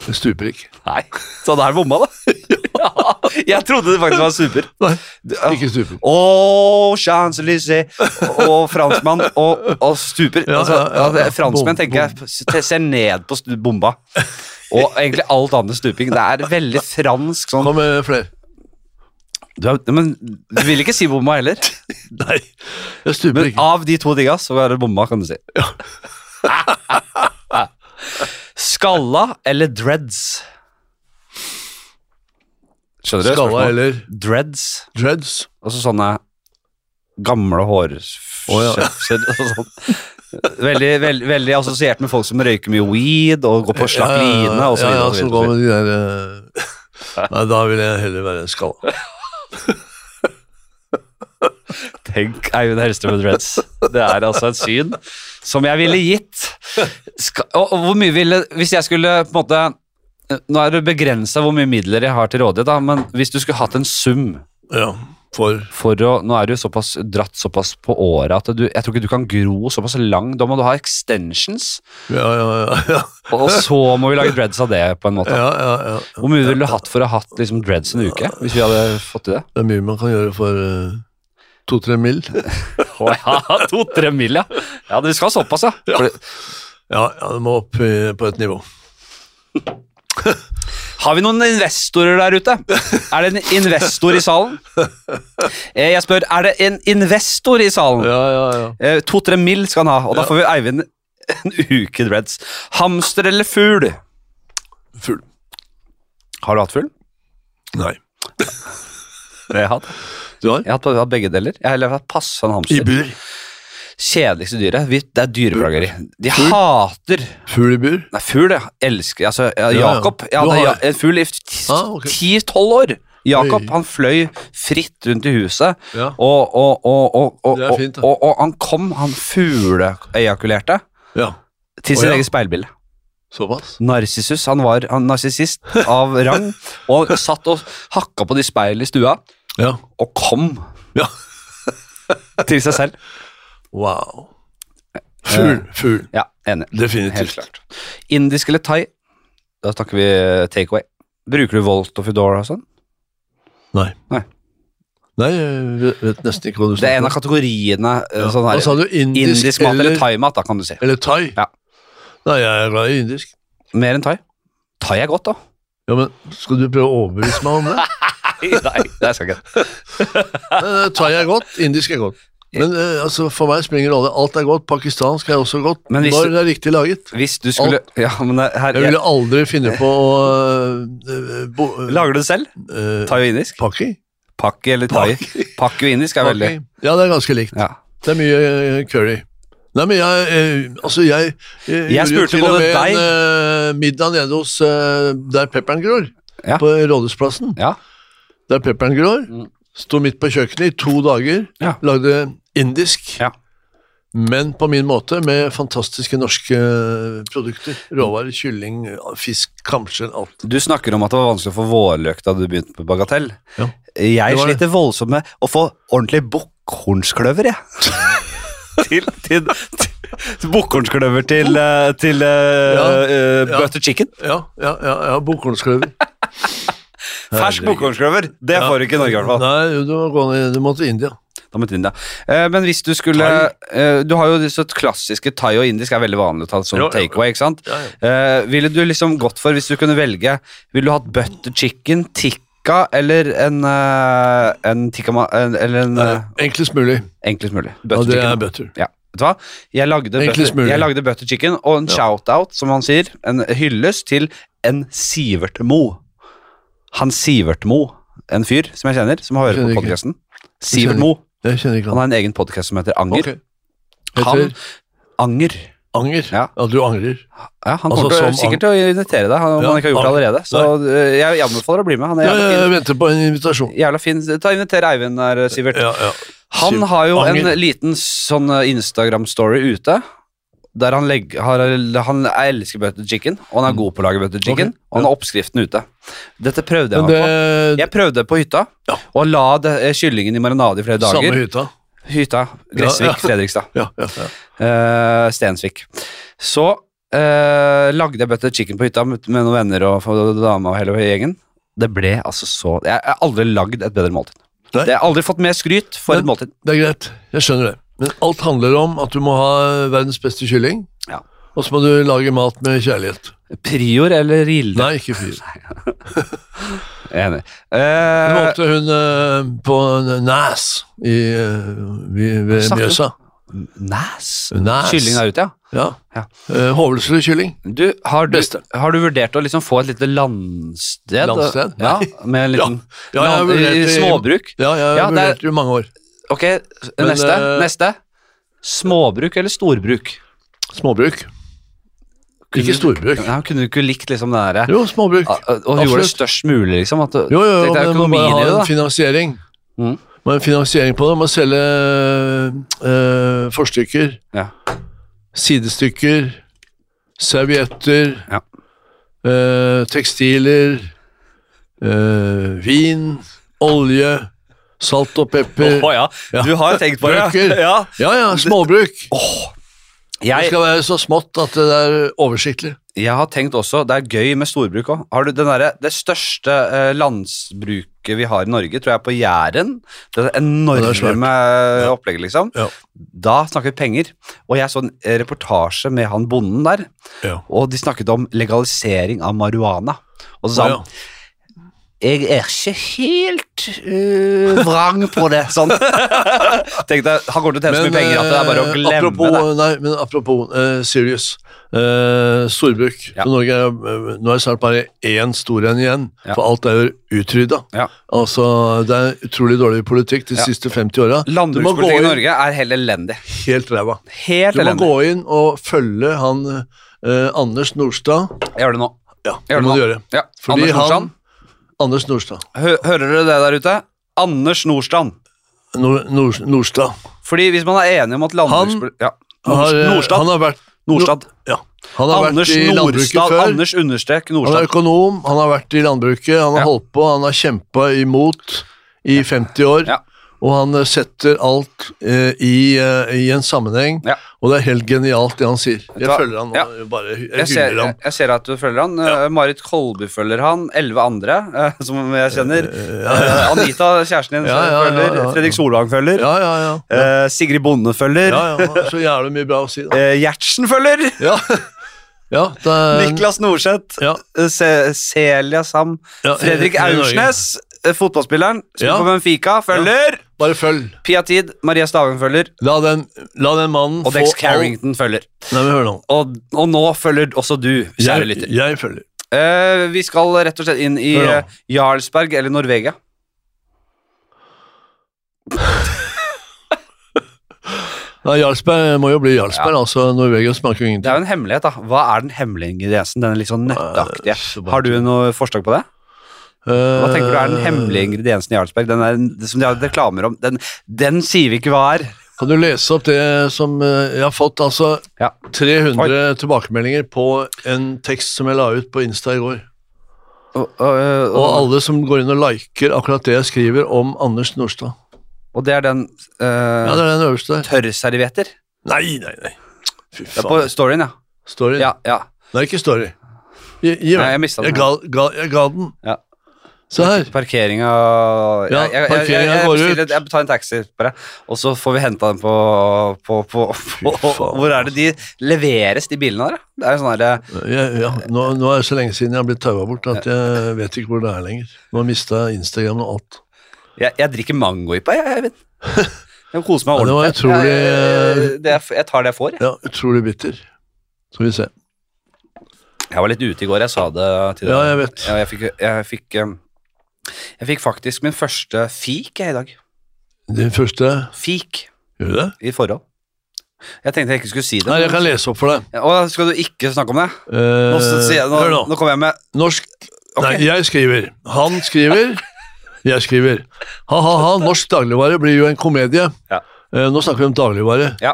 B: Det stuper ikke.
A: Nei, så det er bomma, da. ja, jeg trodde det faktisk var super.
B: Nei,
A: Du- ja.
B: Ikke stuper.
A: Å, Champs-Élysées og franskmann og, og stuper.
B: Ja,
A: altså,
B: ja, ja, ja.
A: Franskmenn
B: Bom,
A: tenker jeg s- ser ned på stu- bomba. Og egentlig alt annet stuping. Det er veldig fransk sånn
B: Kom med flere.
A: du, er, Men du vil ikke si bomma heller.
B: Nei, jeg stuper
A: Men
B: ikke.
A: av de to digga, så er det bomma, kan du si. Skalla eller dreads? Skjønner du?
B: Skalla
A: spørsmålet?
B: eller
A: Dreads.
B: dreads.
A: Og så sånne gamle hårskjefser
B: Å, ja.
A: og sånn. Veldig, veldig, veldig assosiert med folk som røyker mye weed og går på slakk line og så
B: ja, ja,
A: videre. og så videre,
B: som
A: og
B: går
A: så videre.
B: med de der eh, Nei, da vil jeg heller være skalla.
A: Tenk Eivind Hellstrøm og dreads. Det er altså et syn som jeg ville gitt. Ska, og, og hvor mye ville Hvis jeg skulle på en måte Nå er det begrensa hvor mye midler jeg har til rådighet, da, men hvis du skulle hatt en sum
B: Ja, for
A: for å Nå er du såpass dratt såpass på åra at du Jeg tror ikke du kan gro såpass lang. Da må du ha extensions.
B: Ja, ja, ja. ja,
A: Og så må vi lage dreads av det, på en måte.
B: ja, ja, ja.
A: Hvor mye ville du hatt for å ha hatt liksom, dreads en uke? Hvis vi hadde fått til det?
B: Det er mye man kan gjøre for eh, to-tre mil.
A: Å ja, to-tre mil, ja. Ja, du skal ha såpass, ja. For det-
B: Ja, ja, det må opp i, på et nivå.
A: Har vi noen investorer der ute? Er det en investor i salen? Eh, Jeg spør, er det en investor i salen?
B: Ja, ja, ja.
A: Eh, To-tre mil skal han ha, og da får vi Eivind en uke dreads. Hamster eller fugl?
B: Fugl.
A: Har du hatt fugl?
B: Nei.
A: Det har jeg hatt.
B: Du har?
A: Jeg har hatt- jeg har hatt begge deler. Jeg har heller hatt passa en hamster.
B: I bur.
A: Kjedeligste dyret. Vi- Det er dyreplageri. De hater
B: Fugl i bur?
A: Nei, fugl, ja. Elsker Altså, ja,
B: ja.
A: Jakob. Jeg
B: Du
A: hadde
B: har-
A: ja, en fugl i ti-
B: Ah, ok.
A: ti-tolv år. Jakob
B: Oi.
A: han fløy fritt rundt i huset,
B: Ja.
A: og, og, og, og, og,
B: Det er fint, da.
A: og, og, og han kom, han fugleejakulerte,
B: Ja.
A: til
B: Å,
A: sitt
B: ja.
A: eget speilbilde.
B: Såpass?
A: Narsissus. Han var han narsissist av rang, og satt og hakka på de speilene i stua,
B: Ja.
A: og kom
B: Ja.
A: til seg selv.
B: Wow. Eh. Fugl. Fugl.
A: Ja, enig. Helt
B: Definitivt.
A: klart. Indisk eller thai? Da snakker vi takeaway. Bruker du Volt og Foodora og sånn?
B: Nei.
A: Nei.
B: Nei, jeg vet- vet nesten ikke hva du
A: Det er en
B: snakker
A: av kategoriene eh,
B: Ja.
A: sånn
B: Hva sa
A: her,
B: du? Indisk,
A: indisk, mat eller
B: eller
A: thaimat, da, kan du si.
B: Eller thai?
A: Ja.
B: Nei, jeg er glad i indisk.
A: Mer enn thai. Thai er godt, da.
B: Ja, men Skal du prøve å overbevise meg om det?
A: Nei, nei, det skal jeg ikke.
B: Eh, thai er godt, indisk er godt. Men eh, altså, for meg springer rolle. Alt er godt. Pakistansk er også godt.
A: Men hvis
B: når
A: du-
B: det er riktig laget.
A: Hvis du skulle Ja, men det- her
B: Jeg ville aldri finne på å eh, bo, eh,
A: Lager du det selv?
B: eh,
A: Thai og indisk?
B: Pakki?
A: Pakki eller thai? Pakki og indisk er veldig
B: Pakki. Ja, det er ganske likt.
A: ja.
B: Det er mye eh, curry. Nei, men jeg eh, Altså, jeg eh,
A: Jeg
B: gjorde jo
A: spurte
B: til og
A: både
B: med
A: deg-
B: en eh, middag nede hos eh, der pepperen gror.
A: Ja.
B: På Rådhusplassen.
A: ja.
B: Der pepperen gror.
A: Mm.
B: Sto midt på kjøkkenet i to dager.
A: Ja.
B: Lagde indisk,
A: Ja.
B: men på min måte, med fantastiske norske eh, produkter. Råvarer, kylling, fisk, kamskjell, alt.
A: Du snakker om at det var vanskelig å få vårløk da du begynte på Bagatell.
B: Ja.
A: Jeg
B: Det var det.
A: sliter voldsomt med å få ordentlig bukkhornskløver, jeg. til til, til Bukkhornskløver til, eh, til eh,
B: Ja,
A: eh,
B: ja.
A: butter chicken.
B: Ja, ja, ja, ja bokholmskløver.
A: Fersk
B: Herregud.
A: bukkhornskløver! Det får du ikke i Norge, i hvert fall.
B: Nei, du må, gå ned, du må til India.
A: Da måtte vi inn der. Eh, Men hvis du skulle eh, Du har jo disse klassiske thai og indisk er veldig vanlig å ta som
B: Ja, ja, ja.
A: takeaway, ikke sant?
B: Ja, ja.
A: Eh, Ville du liksom gått for, hvis du kunne velge Ville du hatt butter chicken, tikka tikka eller en, eh, en tikka ma... en- Eller en eh,
B: Enklest mulig.
A: enklest mulig.
B: Ja,
A: Butter
B: det er
A: chicken.
B: butter.
A: Ja, vet du hva? Jeg lagde,
B: Enklest
A: butter,
B: mulig.
A: jeg lagde butter chicken og en shout-out, som han sier. En hyllest til en Sivert Mo. Han Sivert Mo, en fyr som jeg kjenner, som hører
B: Kjenner
A: på
B: ikke.
A: podkasten.
B: Kjenner
A: Sivert Mo.
B: Jeg kjenner ikke
A: Han
B: han.
A: har en egen podkast som heter Anger.
B: Ok. Heter
A: Anger.
B: Anger.
A: Ja.
B: Ja. du angrer.
A: Ja, han kommer
B: Altså,
A: til,
B: som
A: sikkert til å invitere deg, han- om
B: Ja,
A: han ikke har gjort det allerede. Så eh, jeg anbefaler å bli med. Han er
B: Ja,
A: jævla
B: ja, jeg
A: fin.
B: venter på en invitasjon.
A: Jævla fin. Ta Inviter Eivind der, Sivert.
B: Ja, ja.
A: Han
B: Sivert
A: har jo en
B: Anger.
A: liten sånn eh, Instagram-story ute. Der han, legg, har, han elsker butter chicken, og han er god på å lage butter chicken.
B: Mm. Ok,
A: Og han har oppskriften ute. Dette prøvde jeg
B: Men
A: meg på.
B: det
A: Jeg prøvde på hytta,
B: Ja.
A: og la det, eh, kyllingen i marinade i flere
B: Samme
A: dager.
B: hytta.
A: Hytta, Gressvik,
B: Ja, ja.
A: Fredrikstad.
B: Ja, ja, ja.
A: Eh, Stensvik. Så eh, lagde jeg butter chicken på hytta med, med noen venner og, og dama og hele gjengen. Det ble altså så Jeg har aldri lagd et bedre måltid.
B: Nei.
A: Jeg har aldri fått mer skryt for et
B: Men-
A: måltid.
B: Det er greit. Jeg skjønner det. Men alt handler om at du må ha verdens beste kylling,
A: Ja.
B: og så må du lage mat med kjærlighet.
A: Prior eller Rilde?
B: Nei, ikke fyr.
A: Jeg er Enig.
B: Nå
A: Eh,
B: åpnet hun eh, på Næs i, eh, vi- ved
A: snakker du?
B: Mjøsa.
A: Næs?
B: Næs.
A: Kylling der ute, ja.
B: Ja.
A: Ja.
B: Eh, Hovelsrud kylling.
A: Du, har, du,
B: Beste.
A: har du vurdert å liksom få et lite landsted?
B: Landsted?
A: Ja,
B: Nei.
A: med en liten
B: Ja, jeg har
A: land-
B: vurdert
A: i-
B: i-
A: Småbruk?
B: Ja, jeg
A: Ja, det er-
B: vurderte jo i mange år.
A: Ok,
B: Men,
A: neste.
B: eh,
A: neste. Småbruk eller storbruk?
B: Småbruk. Ikke storbruk.
A: Nei, kunne du ikke likt liksom det derre
B: Jo, småbruk.
A: Ja, Og gjorde det
B: Absolutt.
A: størst mulig, liksom? At det,
B: Jo, jo, jo
A: det er
B: men man må
A: økonomien
B: bare
A: i
B: ha
A: det,
B: en
A: da.
B: finansiering.
A: Mm.
B: Man har en finansiering på det. Man må selge eh, forstykker,
A: Ja.
B: sidestykker, servietter,
A: Ja.
B: eh, tekstiler, eh, vin, olje, salt og pepper.
A: Å, ja.
B: Ja.
A: Du har tenkt på det? ja.
B: Bøker.
A: Ja.
B: Ja, ja, småbruk. Det
A: Jeg,
B: skal være så smått at det er oversiktlig.
A: jeg har tenkt også, det er gøy med storbruk òg. Har du den derre Det største eh, landsbruket vi har i Norge, tror jeg er på Jæren. Det er
B: Ja, det er svært.
A: enorme opplegget, liksom.
B: Ja.
A: Da snakker vi penger. Og jeg så en eh, reportasje med han bonden der,
B: Ja.
A: og de snakket om legalisering av marihuana. Og så sa han
B: Ja.
A: jeg er ikke helt øh, vrang på det. Sånn. Tenk deg, Han går til å tjene så mye penger at det er bare å
B: eh,
A: glemme
B: apropos,
A: det.
B: Nei, men apropos eh, Sirius. Eh, storbruk.
A: Ja.
B: For Norge er, eh, nå er det snart bare én stor en igjen,
A: Ja.
B: for alt er jo utrydda.
A: Ja.
B: Altså, det er utrolig dårlig politikk de
A: Ja.
B: siste 50 åra.
A: Landbrukspolitikken i Norge er helt elendig.
B: helt ræva.
A: Helt
B: Du må
A: elendig.
B: gå inn og følge han eh, Anders Norstad.
A: Jeg gjør det nå.
B: Ja,
A: Jeg
B: det
A: gjør
B: må du
A: det
B: gjøre.
A: nå. Ja.
B: Fordi
A: Anders Nordstrand.
B: han Anders Norstad.
A: Hø hører dere det der ute? Anders Nordstrand.
B: Nor, Nor, Norstad.
A: Fordi hvis man er enig om at landbrukspolitikk ja.
B: Han har, eh,
A: Nordstrand.
B: han har vært
A: Nordstrand.
B: Ja. Han har
A: Anders
B: vært i landbruket
A: Nordstrand.
B: før.
A: Anders understrek
B: Han er
A: Nordstrand.
B: økonom, han har vært i landbruket, han har
A: Ja.
B: holdt på, han har kjempa imot i 50 år.
A: Ja.
B: Og han eh, setter alt eh, i, eh, i en sammenheng,
A: Ja.
B: og det er helt genialt det han sier. Jeg
A: hva?
B: følger han nå,
A: Ja.
B: jeg bare jeg
A: Jeg ser,
B: hyller
A: jeg,
B: ham.
A: jeg ser at du følger han. Eh, Marit Kolby følger han. Elleve andre eh, som jeg kjenner. Eh, Anita, kjæresten din,
B: Ja, ja, ja,
A: følger.
B: ja, ja.
A: Fredrik Solvang følger.
B: Ja, ja, ja.
A: Eh, Sigrid Bonde følger.
B: ja, ja han har så jævlig mye bra å si, da.
A: Eh, Gjertsen følger.
B: Ja. Ja, det er,
A: Niklas Norseth.
B: Ja.
A: eh, Se Celia Sam.
B: Ja,
A: Fredrik
B: eh, Norge.
A: Aursnes, eh, fotballspilleren. Spiller
B: Ja.
A: for Benfica. Følger.
B: Bare følg.
A: Pia Tid. Maria Stavang følger.
B: La den, la den mannen
A: Og Dex
B: all-
A: Carrington følger.
B: Nei, men hør nå.
A: Og, og nå følger også du, kjære
B: Jeg,
A: lytter.
B: jeg følger.
A: Eh, vi skal rett og slett inn i
B: Hør nå.
A: eh, Jarlsberg eller Norvegia.
B: Nei, Jarlsberg må jo bli Jarlsberg, altså. Norvegia smaker jo
A: Det er
B: ingenting.
A: jo en hemmelighet, da. Hva er den hemmelige ingrediensen? Den er litt sånn nøtteaktige.
B: så
A: Har du noe forslag på det? Hva tenker du er den
B: Eh,
A: hemmelige ingrediensen i Jarlsberg? Den er, den som de har reklamer om. Den, den sier vi ikke hva er.
B: Kan du lese opp det som eh, jeg har fått? Altså
A: Ja.
B: 300 tilbakemeldinger på en tekst som jeg la ut på Insta i går.
A: Og, og, og,
B: Og
A: og,
B: alle som går inn og liker akkurat det jeg skriver om Anders Nordstad.
A: det er den
B: Ja,
A: uh,
B: det er den øverste der.
A: tørrservietter.
B: Nei, nei, nei. Fy
A: Det er på
B: faen.
A: storyen, ja.
B: Story.
A: Ja, ja.
B: Nei, ikke story. Gi,
A: Nei,
B: gi meg.
A: jeg mistet den.
B: Jeg ga, ga, jeg ga den.
A: Ja.
B: Se her.
A: Parkeringa
B: Ja,
A: jeg, jeg, jeg, jeg,
B: parkeringen
A: jeg,
B: går
A: bestiller-
B: ut.
A: jeg tar en taxi, bare. Og så får vi henta den på, på, på, på
B: faen,
A: Hvor er det de leveres, de bilene der? da? Det er jo sånn derre
B: Jeg, ja, nå, nå er det så lenge siden jeg har blitt taua bort at jeg vet ikke hvor det er lenger. Nå har mista Instagram og alt.
A: jeg, jeg drikker mangoipa, jeg, Eivind. Jeg koser meg
B: Ja, det var
A: ordentlig.
B: utrolig-
A: Jeg, det er- jeg tar det jeg får, jeg.
B: Ja, utrolig bitter. Skal vi se.
A: Jeg var litt ute i går, jeg sa det til deg.
B: Ja, jeg vet.
A: Ja, jeg, fikk, jeg, fikk, um, jeg fikk faktisk min første fik jeg i dag.
B: Din første
A: Fik
B: Gjør du det?
A: i forhold. Jeg tenkte jeg ikke skulle si det.
B: Nei, jeg kan lese opp for deg.
A: Å, skal du ikke snakke om det?
B: Eh,
A: Nå, s- sier jeg, nå,
B: hør nå.
A: nå kommer jeg med
B: Norsk
A: Ok.
B: Nei, jeg skriver. Han skriver. Jeg skriver. Ha-ha-ha, norsk dagligvare blir jo en komedie.
A: Ja.
B: Eh, nå snakker vi om dagligvare.
A: Ja.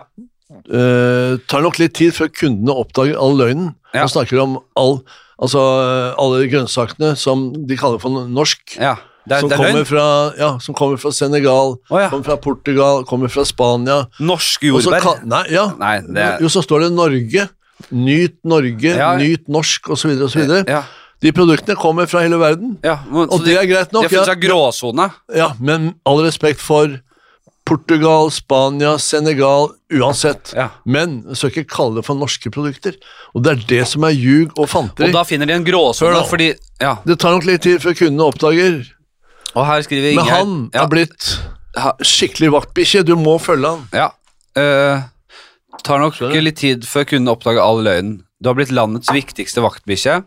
B: Eh, tar nok litt tid før kundene oppdager all løgnen.
A: Ja.
B: Og snakker om all, altså, eh, alle grønnsakene som de kaller for norsk.
A: Ja, det er,
B: som,
A: det er
B: kommer
A: løgn.
B: fra, ja, som kommer fra Senegal,
A: Å, ja.
B: kommer fra Portugal, kommer fra Spania.
A: Norske
B: Og så
A: jordbær.
B: kan- Nei, ja.
A: Nei, det er
B: Jo, så står det Norge. Nyt Norge,
A: Ja.
B: nyt norsk, osv. osv.
A: Ja.
B: De produktene kommer fra hele verden.
A: ja men,
B: Og
A: så
B: det
A: de,
B: er greit
A: de
B: nok,
A: har funnet
B: ja,
A: seg gråsone.
B: ja, men all respekt for Portugal, Spania, Senegal, uansett.
A: Ja.
B: Men jeg skal ikke kalle det for norske produkter. Og det er det som er ljug og fanteri.
A: Og da finner de en
B: Hør
A: gråsone
B: nå.
A: fordi Ja.
B: Det tar nok litt tid før kundene oppdager.
A: Og her skriver
B: Men
A: Ingjerd
B: han
A: ja,
B: er blitt skikkelig vaktbikkje. Du må følge han.
A: Ja. eh, tar nok
B: Skjønner du?
A: litt tid før kunden oppdager all løgnen. Du har blitt landets viktigste vaktbikkje,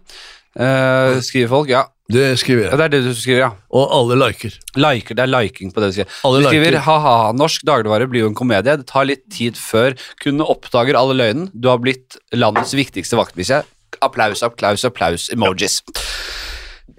A: eh, skriver folk. Ja.
B: Det skriver
A: ja,
B: jeg.
A: det er det du skriver, ja.
B: Og alle liker.
A: Liker, det er liking på det du skriver.
B: Alle
A: du skriver
B: liker.
A: ha-ha, norsk dagligvare blir jo en komedie. Det tar litt tid før kundene oppdager alle løgnen. Du har blitt landets viktigste vaktbikkje. Applaus, applaus, applaus, emojis.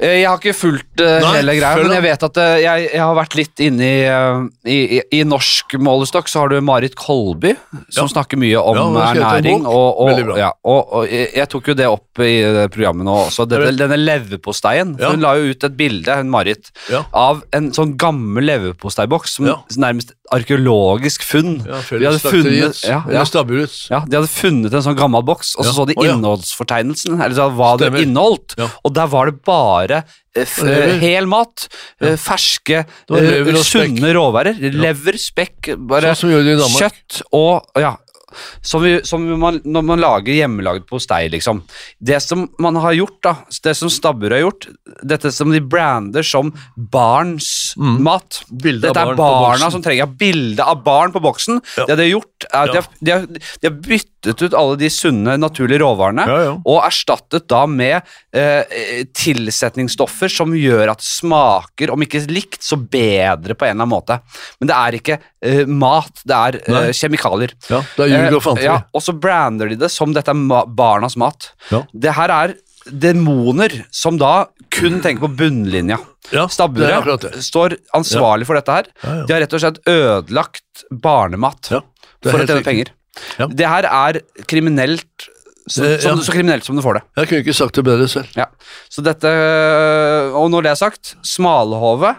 A: Eh, Jeg har ikke fulgt eh,
B: Nei,
A: hele greia,
B: følg
A: men
B: da.
A: jeg vet at eh, jeg, jeg har vært litt inne i, eh, i, i, i norsk målestokk. Så har du Marit Kolby, som snakker mye om
B: Ja, hun har skrevet en
A: ernæring.
B: bok.
A: Og,
B: Veldig
A: og,
B: bra.
A: ja, og, og jeg jeg tok jo det opp i eh, programmet nå også. Dette,
B: Jeg
A: denne leverposteien.
B: Ja.
A: for Hun la jo ut et bilde, hun Marit
B: Ja.
A: av en sånn gammel leverposteiboks, som
B: Ja.
A: nærmest arkeologisk funn.
B: Ja,
A: de hadde funnet,
B: Fellesslakteriets
A: ja, ja,
B: eller Stabburets.
A: ja, de hadde funnet en sånn gammel boks, og så
B: Ja.
A: så de
B: Å, ja.
A: innholdsfortegnelsen, eller så hva det
B: Stemmer.
A: inneholdt,
B: Ja.
A: og der var det bare eh, f
B: Lever.
A: hel mat, eh, ferske,
B: var
A: eh,
B: lever og spekk.
A: sunne råværer, lever, spekk, bare
B: Sånn som vi gjør det i Danmark.
A: kjøtt og ja, som, vi, som man, når man lager hjemmelaget postei, liksom. Det som man har gjort, da, det som Stabburet har gjort, dette som de brander som barns mat
B: Mm. Bilde av
A: Dette
B: barn
A: er
B: på
A: barna
B: boksen.
A: som trenger bilde av barn på boksen.
B: Ja.
A: Det de har gjort, er at
B: Ja.
A: de, har, de, har, de har byttet ut alle de sunne, naturlige råvarene.
B: Ja, ja.
A: Og erstattet da med eh, eh, tilsetningsstoffer som gjør at det smaker, om ikke likt, så bedre på en eller annen måte. Men det er ikke eh, mat, det er eh,
B: Nei.
A: kjemikalier.
B: Ja, det er ljug og
A: Eh,
B: fanteri.
A: ja, og så brander de det som dette er ma barnas mat.
B: Ja.
A: Det her er demoner som da kun tenker på bunnlinja.
B: Ja, det er akkurat
A: Stabburet
B: det.
A: står ansvarlig for dette her.
B: Ja, ja.
A: De har rett og slett ødelagt barnemat
B: Ja, det er
A: for å
B: helt
A: tjene
B: riktig.
A: penger.
B: Ja.
A: Det her er kriminelt, så,
B: Det-
A: som,
B: ja.
A: så kriminelt som du får det.
B: Jeg kunne ikke sagt det bedre selv.
A: Ja. Så dette Og når det er sagt, smalhove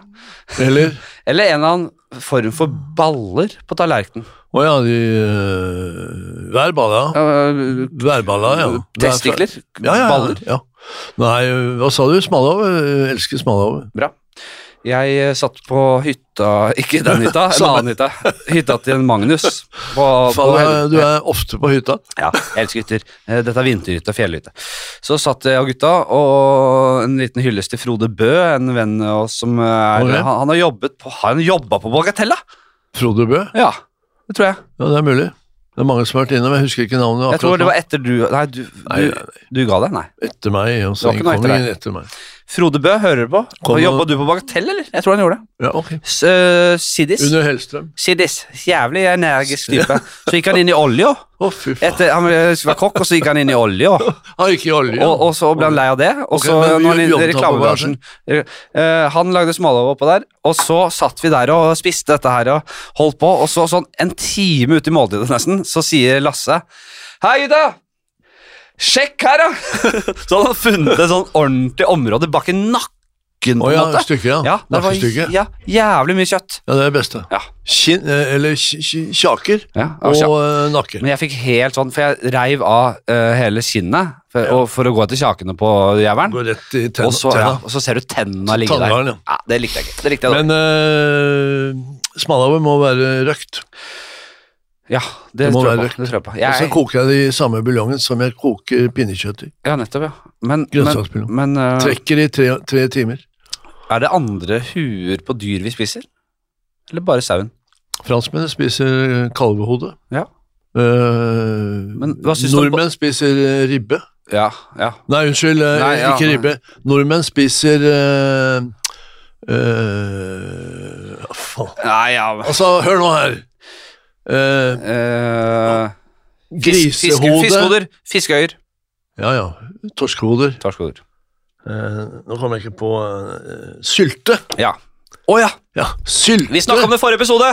B: Eller
A: eller en eller annen form for baller på tallerkenen.
B: Å ja, de øh, Værballa.
A: Øh,
B: Værballa, ja. Vær-
A: Testikler?
B: Ja, ja, ja,
A: Baller?
B: Ja. Nei, hva sa du? Smalahove? Jeg Elsker Smalahove.
A: Bra. Jeg eh, satt på hytta Ikke den hytta, en
B: Samme.
A: annen hytta. Hytta til en Magnus. På, på
B: Faen,
A: Hel-
B: Du er ofte på hytta.
A: Ja, jeg elsker hytter. Eh, Dette er vinterhytte, fjellhytte. Så satt jeg og gutta, og en liten hyllest til Frode Bø, en venn av oss som er
B: Ok.
A: han, han har jobbet på Han jobba på Bagatella!
B: Frode Bø?
A: Ja, det tror jeg.
B: Ja, det er mulig. Det er mange som har vært innom. Jeg husker ikke navnet
A: Jeg tror
B: akkurat
A: det
B: nå.
A: var etter du Nei, du,
B: Nei,
A: du,
B: nei,
A: du ga deg? Nei.
B: Etter meg. Og
A: Det var
B: så
A: ikke
B: kom
A: noe etter
B: ingen etter meg.
A: Frode Bø hører du på.
B: Kom
A: Og
B: nå.
A: Jobba du på Bagatell, eller? Jeg tror han gjorde det.
B: Ja, ok.
A: S- eh, Siddis.
B: Under Hellstrøm.
A: Siddis. Jævlig energisk type. Så gikk han inn i olja.
B: Å, fy faen.
A: Etter, han eh, skulle være kokk, og så gikk han inn i olja.
B: Har ikke i olje.
A: Og, og så ble han lei av det, og så
B: Ok,
A: når han
B: men vi-
A: inn i
B: vi omtaler
A: reklamebransjen Eh, Han lagde smalahove oppå der, og så satt vi der og spiste dette her og holdt på, og så sånn en time ut i måltidet nesten, så sier Lasse Hei, gutta! Sjekk her, da! så han hadde funnet et sånn ordentlig område bak i nakken, på
B: Å
A: en
B: ja,
A: måte.
B: stykket, ja.
A: Ja, det var
B: Nakkestykket.
A: ja, jævlig mye kjøtt.
B: Ja, det er det beste.
A: Ja.
B: Kinn, eh, eller ki- ki- kjaker
A: Ja,
B: og
A: ja.
B: eh, nakke.
A: Men jeg fikk helt sånn, for jeg reiv av eh, hele kinnet. For For, og for å gå etter kjakene på jævelen.
B: Går rett i
A: Og så,
B: tenna.
A: ja, og så ser du tennene ligge
B: Tanngarn, ja.
A: der. Ja, det likte jeg ikke. Det likte jeg dårlig.
B: Men uh, smalahove må være røkt.
A: Ja, det,
B: Det må
A: tror jeg
B: være
A: på.
B: røkt.
A: Det tror jeg på.
B: Og så
A: Jeg,
B: koker jeg det i samme buljongen som jeg koker pinnekjøtt i.
A: ja, nettopp, ja. Men, men,
B: Grønnsaksbuljong.
A: men eh,
B: Trekker i tre, tre timer.
A: er det andre huer på dyr vi spiser? Eller bare sauen?
B: Franskmennene spiser kalvehode.
A: Ja.
B: Eh,
A: Men hva syns du om-
B: nordmenn spiser eh, ribbe.
A: Ja, ja.
B: Nei, unnskyld, eh,
A: Nei, ja,
B: ikke
A: nei.
B: ribbe. Nordmenn spiser eh, eh, hva faen.
A: Nei, ja. men-
B: Altså, hør nå her. Eh,
A: Eh, fisk- fisk-
B: grisehode.
A: Fiskehoder. Fiskeøyer.
B: Ja, ja. Torskehoder.
A: Torskehoder.
B: Eh, nå kommer jeg ikke på eh, Sylte.
A: Ja. Å ja!
B: Ja, sylte.
A: Vi snakka om det i forrige episode!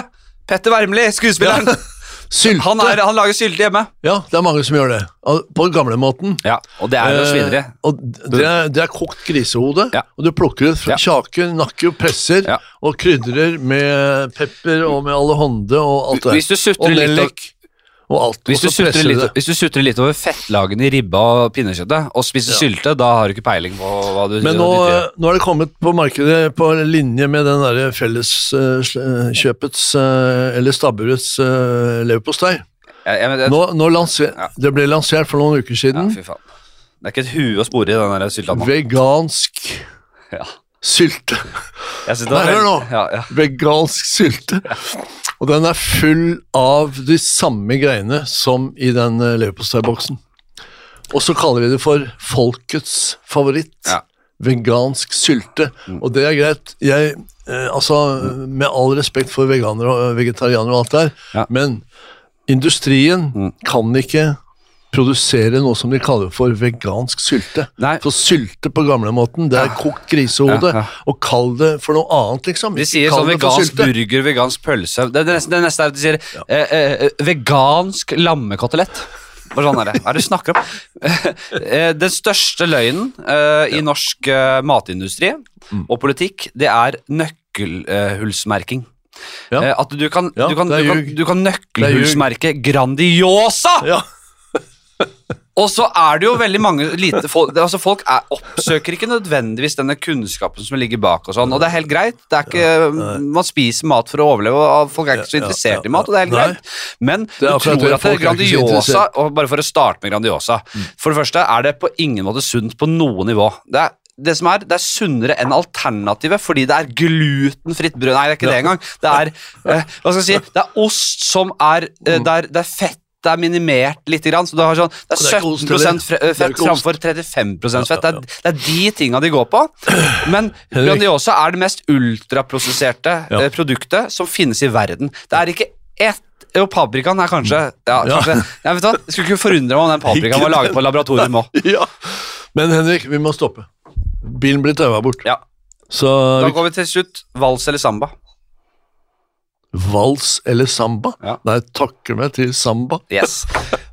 A: Petter Wermli, skuespilleren.
B: Sylte.
A: Han, er, han lager sylte hjemme.
B: Ja, det er mange som gjør det. Al- På gamlemåten.
A: Ja, Og det er jo svinere.
B: Eh, og det, er, det er kokt grisehode,
A: Ja.
B: og du plukker ut fra
A: Ja.
B: kjake, nakke og presser,
A: Ja.
B: og krydrer med pepper og med allehånde og alt det.
A: Hvis du sutrer
B: og
A: litt av-
B: nellik og alt.
A: Hvis du,
B: og så
A: sutrer
B: presser
A: litt,
B: du det.
A: hvis du sutrer litt over fettlagene i ribba og pinnekjøttet, og spiser sylte, da har du ikke peiling på hva du
B: Men
A: du
B: nå, eh,
A: driver i.
B: nå er det kommet på markedet på linje med den derre eh, felleskjøpets eller stabburets eh, leverpostei.
A: jeg, jeg, jeg,
B: Nå, nå lanser,
A: Ja.
B: Det ble lansert for noen uker
A: ja,
B: siden.
A: fy faen. Det er ikke et hue å spore i den der sylta nå.
B: vegansk
A: Ja.
B: sylte.
A: Jeg synes det var
B: Nei, hør
A: veldig-
B: nå.
A: Ja, ja.
B: Vegansk sylte. Og den er full av de samme greiene som i den eh, leverposteiboksen. Og så kaller vi det for folkets favoritt.
A: Ja. Mm.
B: Vegansk sylte. Og det er greit. Jeg, eh, altså, med all respekt for veganere og eh, vegetarianere og alt der,
A: Ja. Mm.
B: men industrien kan ikke produsere noe som de kaller for vegansk sylte.
A: Nei.
B: For sylte på gamlemåten, det er kokt grisehode.
A: Ja, ja.
B: Og kall det for noe annet, liksom.
A: De
B: Ikke
A: sier
B: kall
A: sånn
B: det for
A: vegansk
B: sylte.
A: burger, vegansk pølse Det, det, neste, det neste er at de sier eh, eh, eh, vegansk lammekotelett. Bare sånn er det. Hva er det du snakker om? Eh, Den største løgnen eh, i norsk eh, matindustri
B: Mm.
A: og politikk, det er nøkkelhullsmerking.
B: Ja.
A: Eh, At du kan,
B: Ja,
A: du kan,
B: det er
A: du kan,
B: ljug.
A: du kan nøkkelhullsmerke Grandiosa!
B: Ja.
A: Og så er det jo veldig mange lite folk det- altså Folk er, oppsøker ikke nødvendigvis denne kunnskapen som ligger bak og sånn, og det er helt greit. Det er ikke, man spiser mat for å overleve, og folk er ikke så
B: Ja, ja,
A: interessert
B: ja,
A: i mat, og det er helt
B: nei.
A: greit. Men
B: er
A: du
B: akkurat det,
A: tror at det er
B: folk er ikke så
A: Grandiosa,
B: interessert.
A: og bare for å starte med Grandiosa For det første er det på ingen måte sunt på noe nivå. Det er det som er, det er sunnere enn alternativet, fordi det er glutenfritt brød. Nei, det er ikke det engang. Det er, eh, hva skal jeg si, det er ost som er eh,
B: Mm.
A: det er, det er fett det er minimert litt, grann, så du har sånn, det
B: det er
A: er
B: ikke ost
A: 17 fre-
B: heller.
A: eh,
B: Det er
A: fett
B: ikke ost.
A: framfor 35 fett. Det er, det er de tinga de går på. Men
B: Henrik.
A: Grandiosa er det mest ultraprosesserte
B: Ja.
A: eh, produktet som finnes i verden. Det er ikke ett Jo, paprikaen er kanskje Ja,
B: Ja.
A: kanskje. Ja, vet du hva? Jeg skulle ikke forundre meg om den paprikaen var laget på laboratorium òg.
B: Ja. Men Henrik, vi må stoppe. Bilen blir taua bort.
A: Ja.
B: Så
A: Da
B: vi-
A: går vi til slutt. Vals eller samba?
B: vals eller samba?
A: Ja.
B: Nei, takker meg til samba.
A: Yes.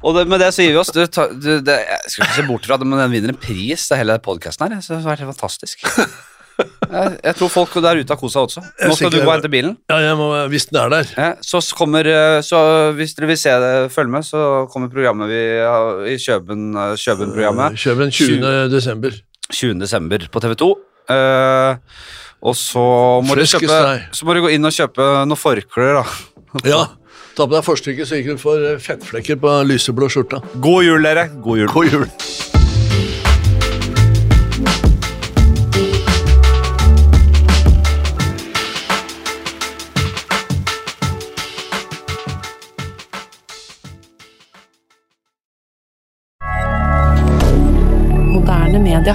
A: Og det, med det så gir vi oss. Du, ta, du, det, jeg skal ikke se bort fra det, men den vinner en pris, det hele podkasten her. Jeg synes det har vært helt fantastisk. Jeg, jeg tror folk der ute har kosa også. Nå skal du gå og hente bilen.
B: Ja, jeg må, hvis den er der.
A: Ja, så s- kommer eh, så Hvis dere vil se det, følg med, så kommer programmet vi har i Kjøben, eh, Kjøben-programmet
B: Kjøp den 20. desember.
A: 20. desember på TV 2. Eh, og så må, du
B: Fleskesteg.
A: kjøpe, så må du gå inn og kjøpe noen forklær, da.
B: Ja. Ta på deg forstykket, så ikke du får eh, fettflekker på lyseblå skjorta.
A: God jul, dere! God jul.
B: God jul.
E: Moderne media.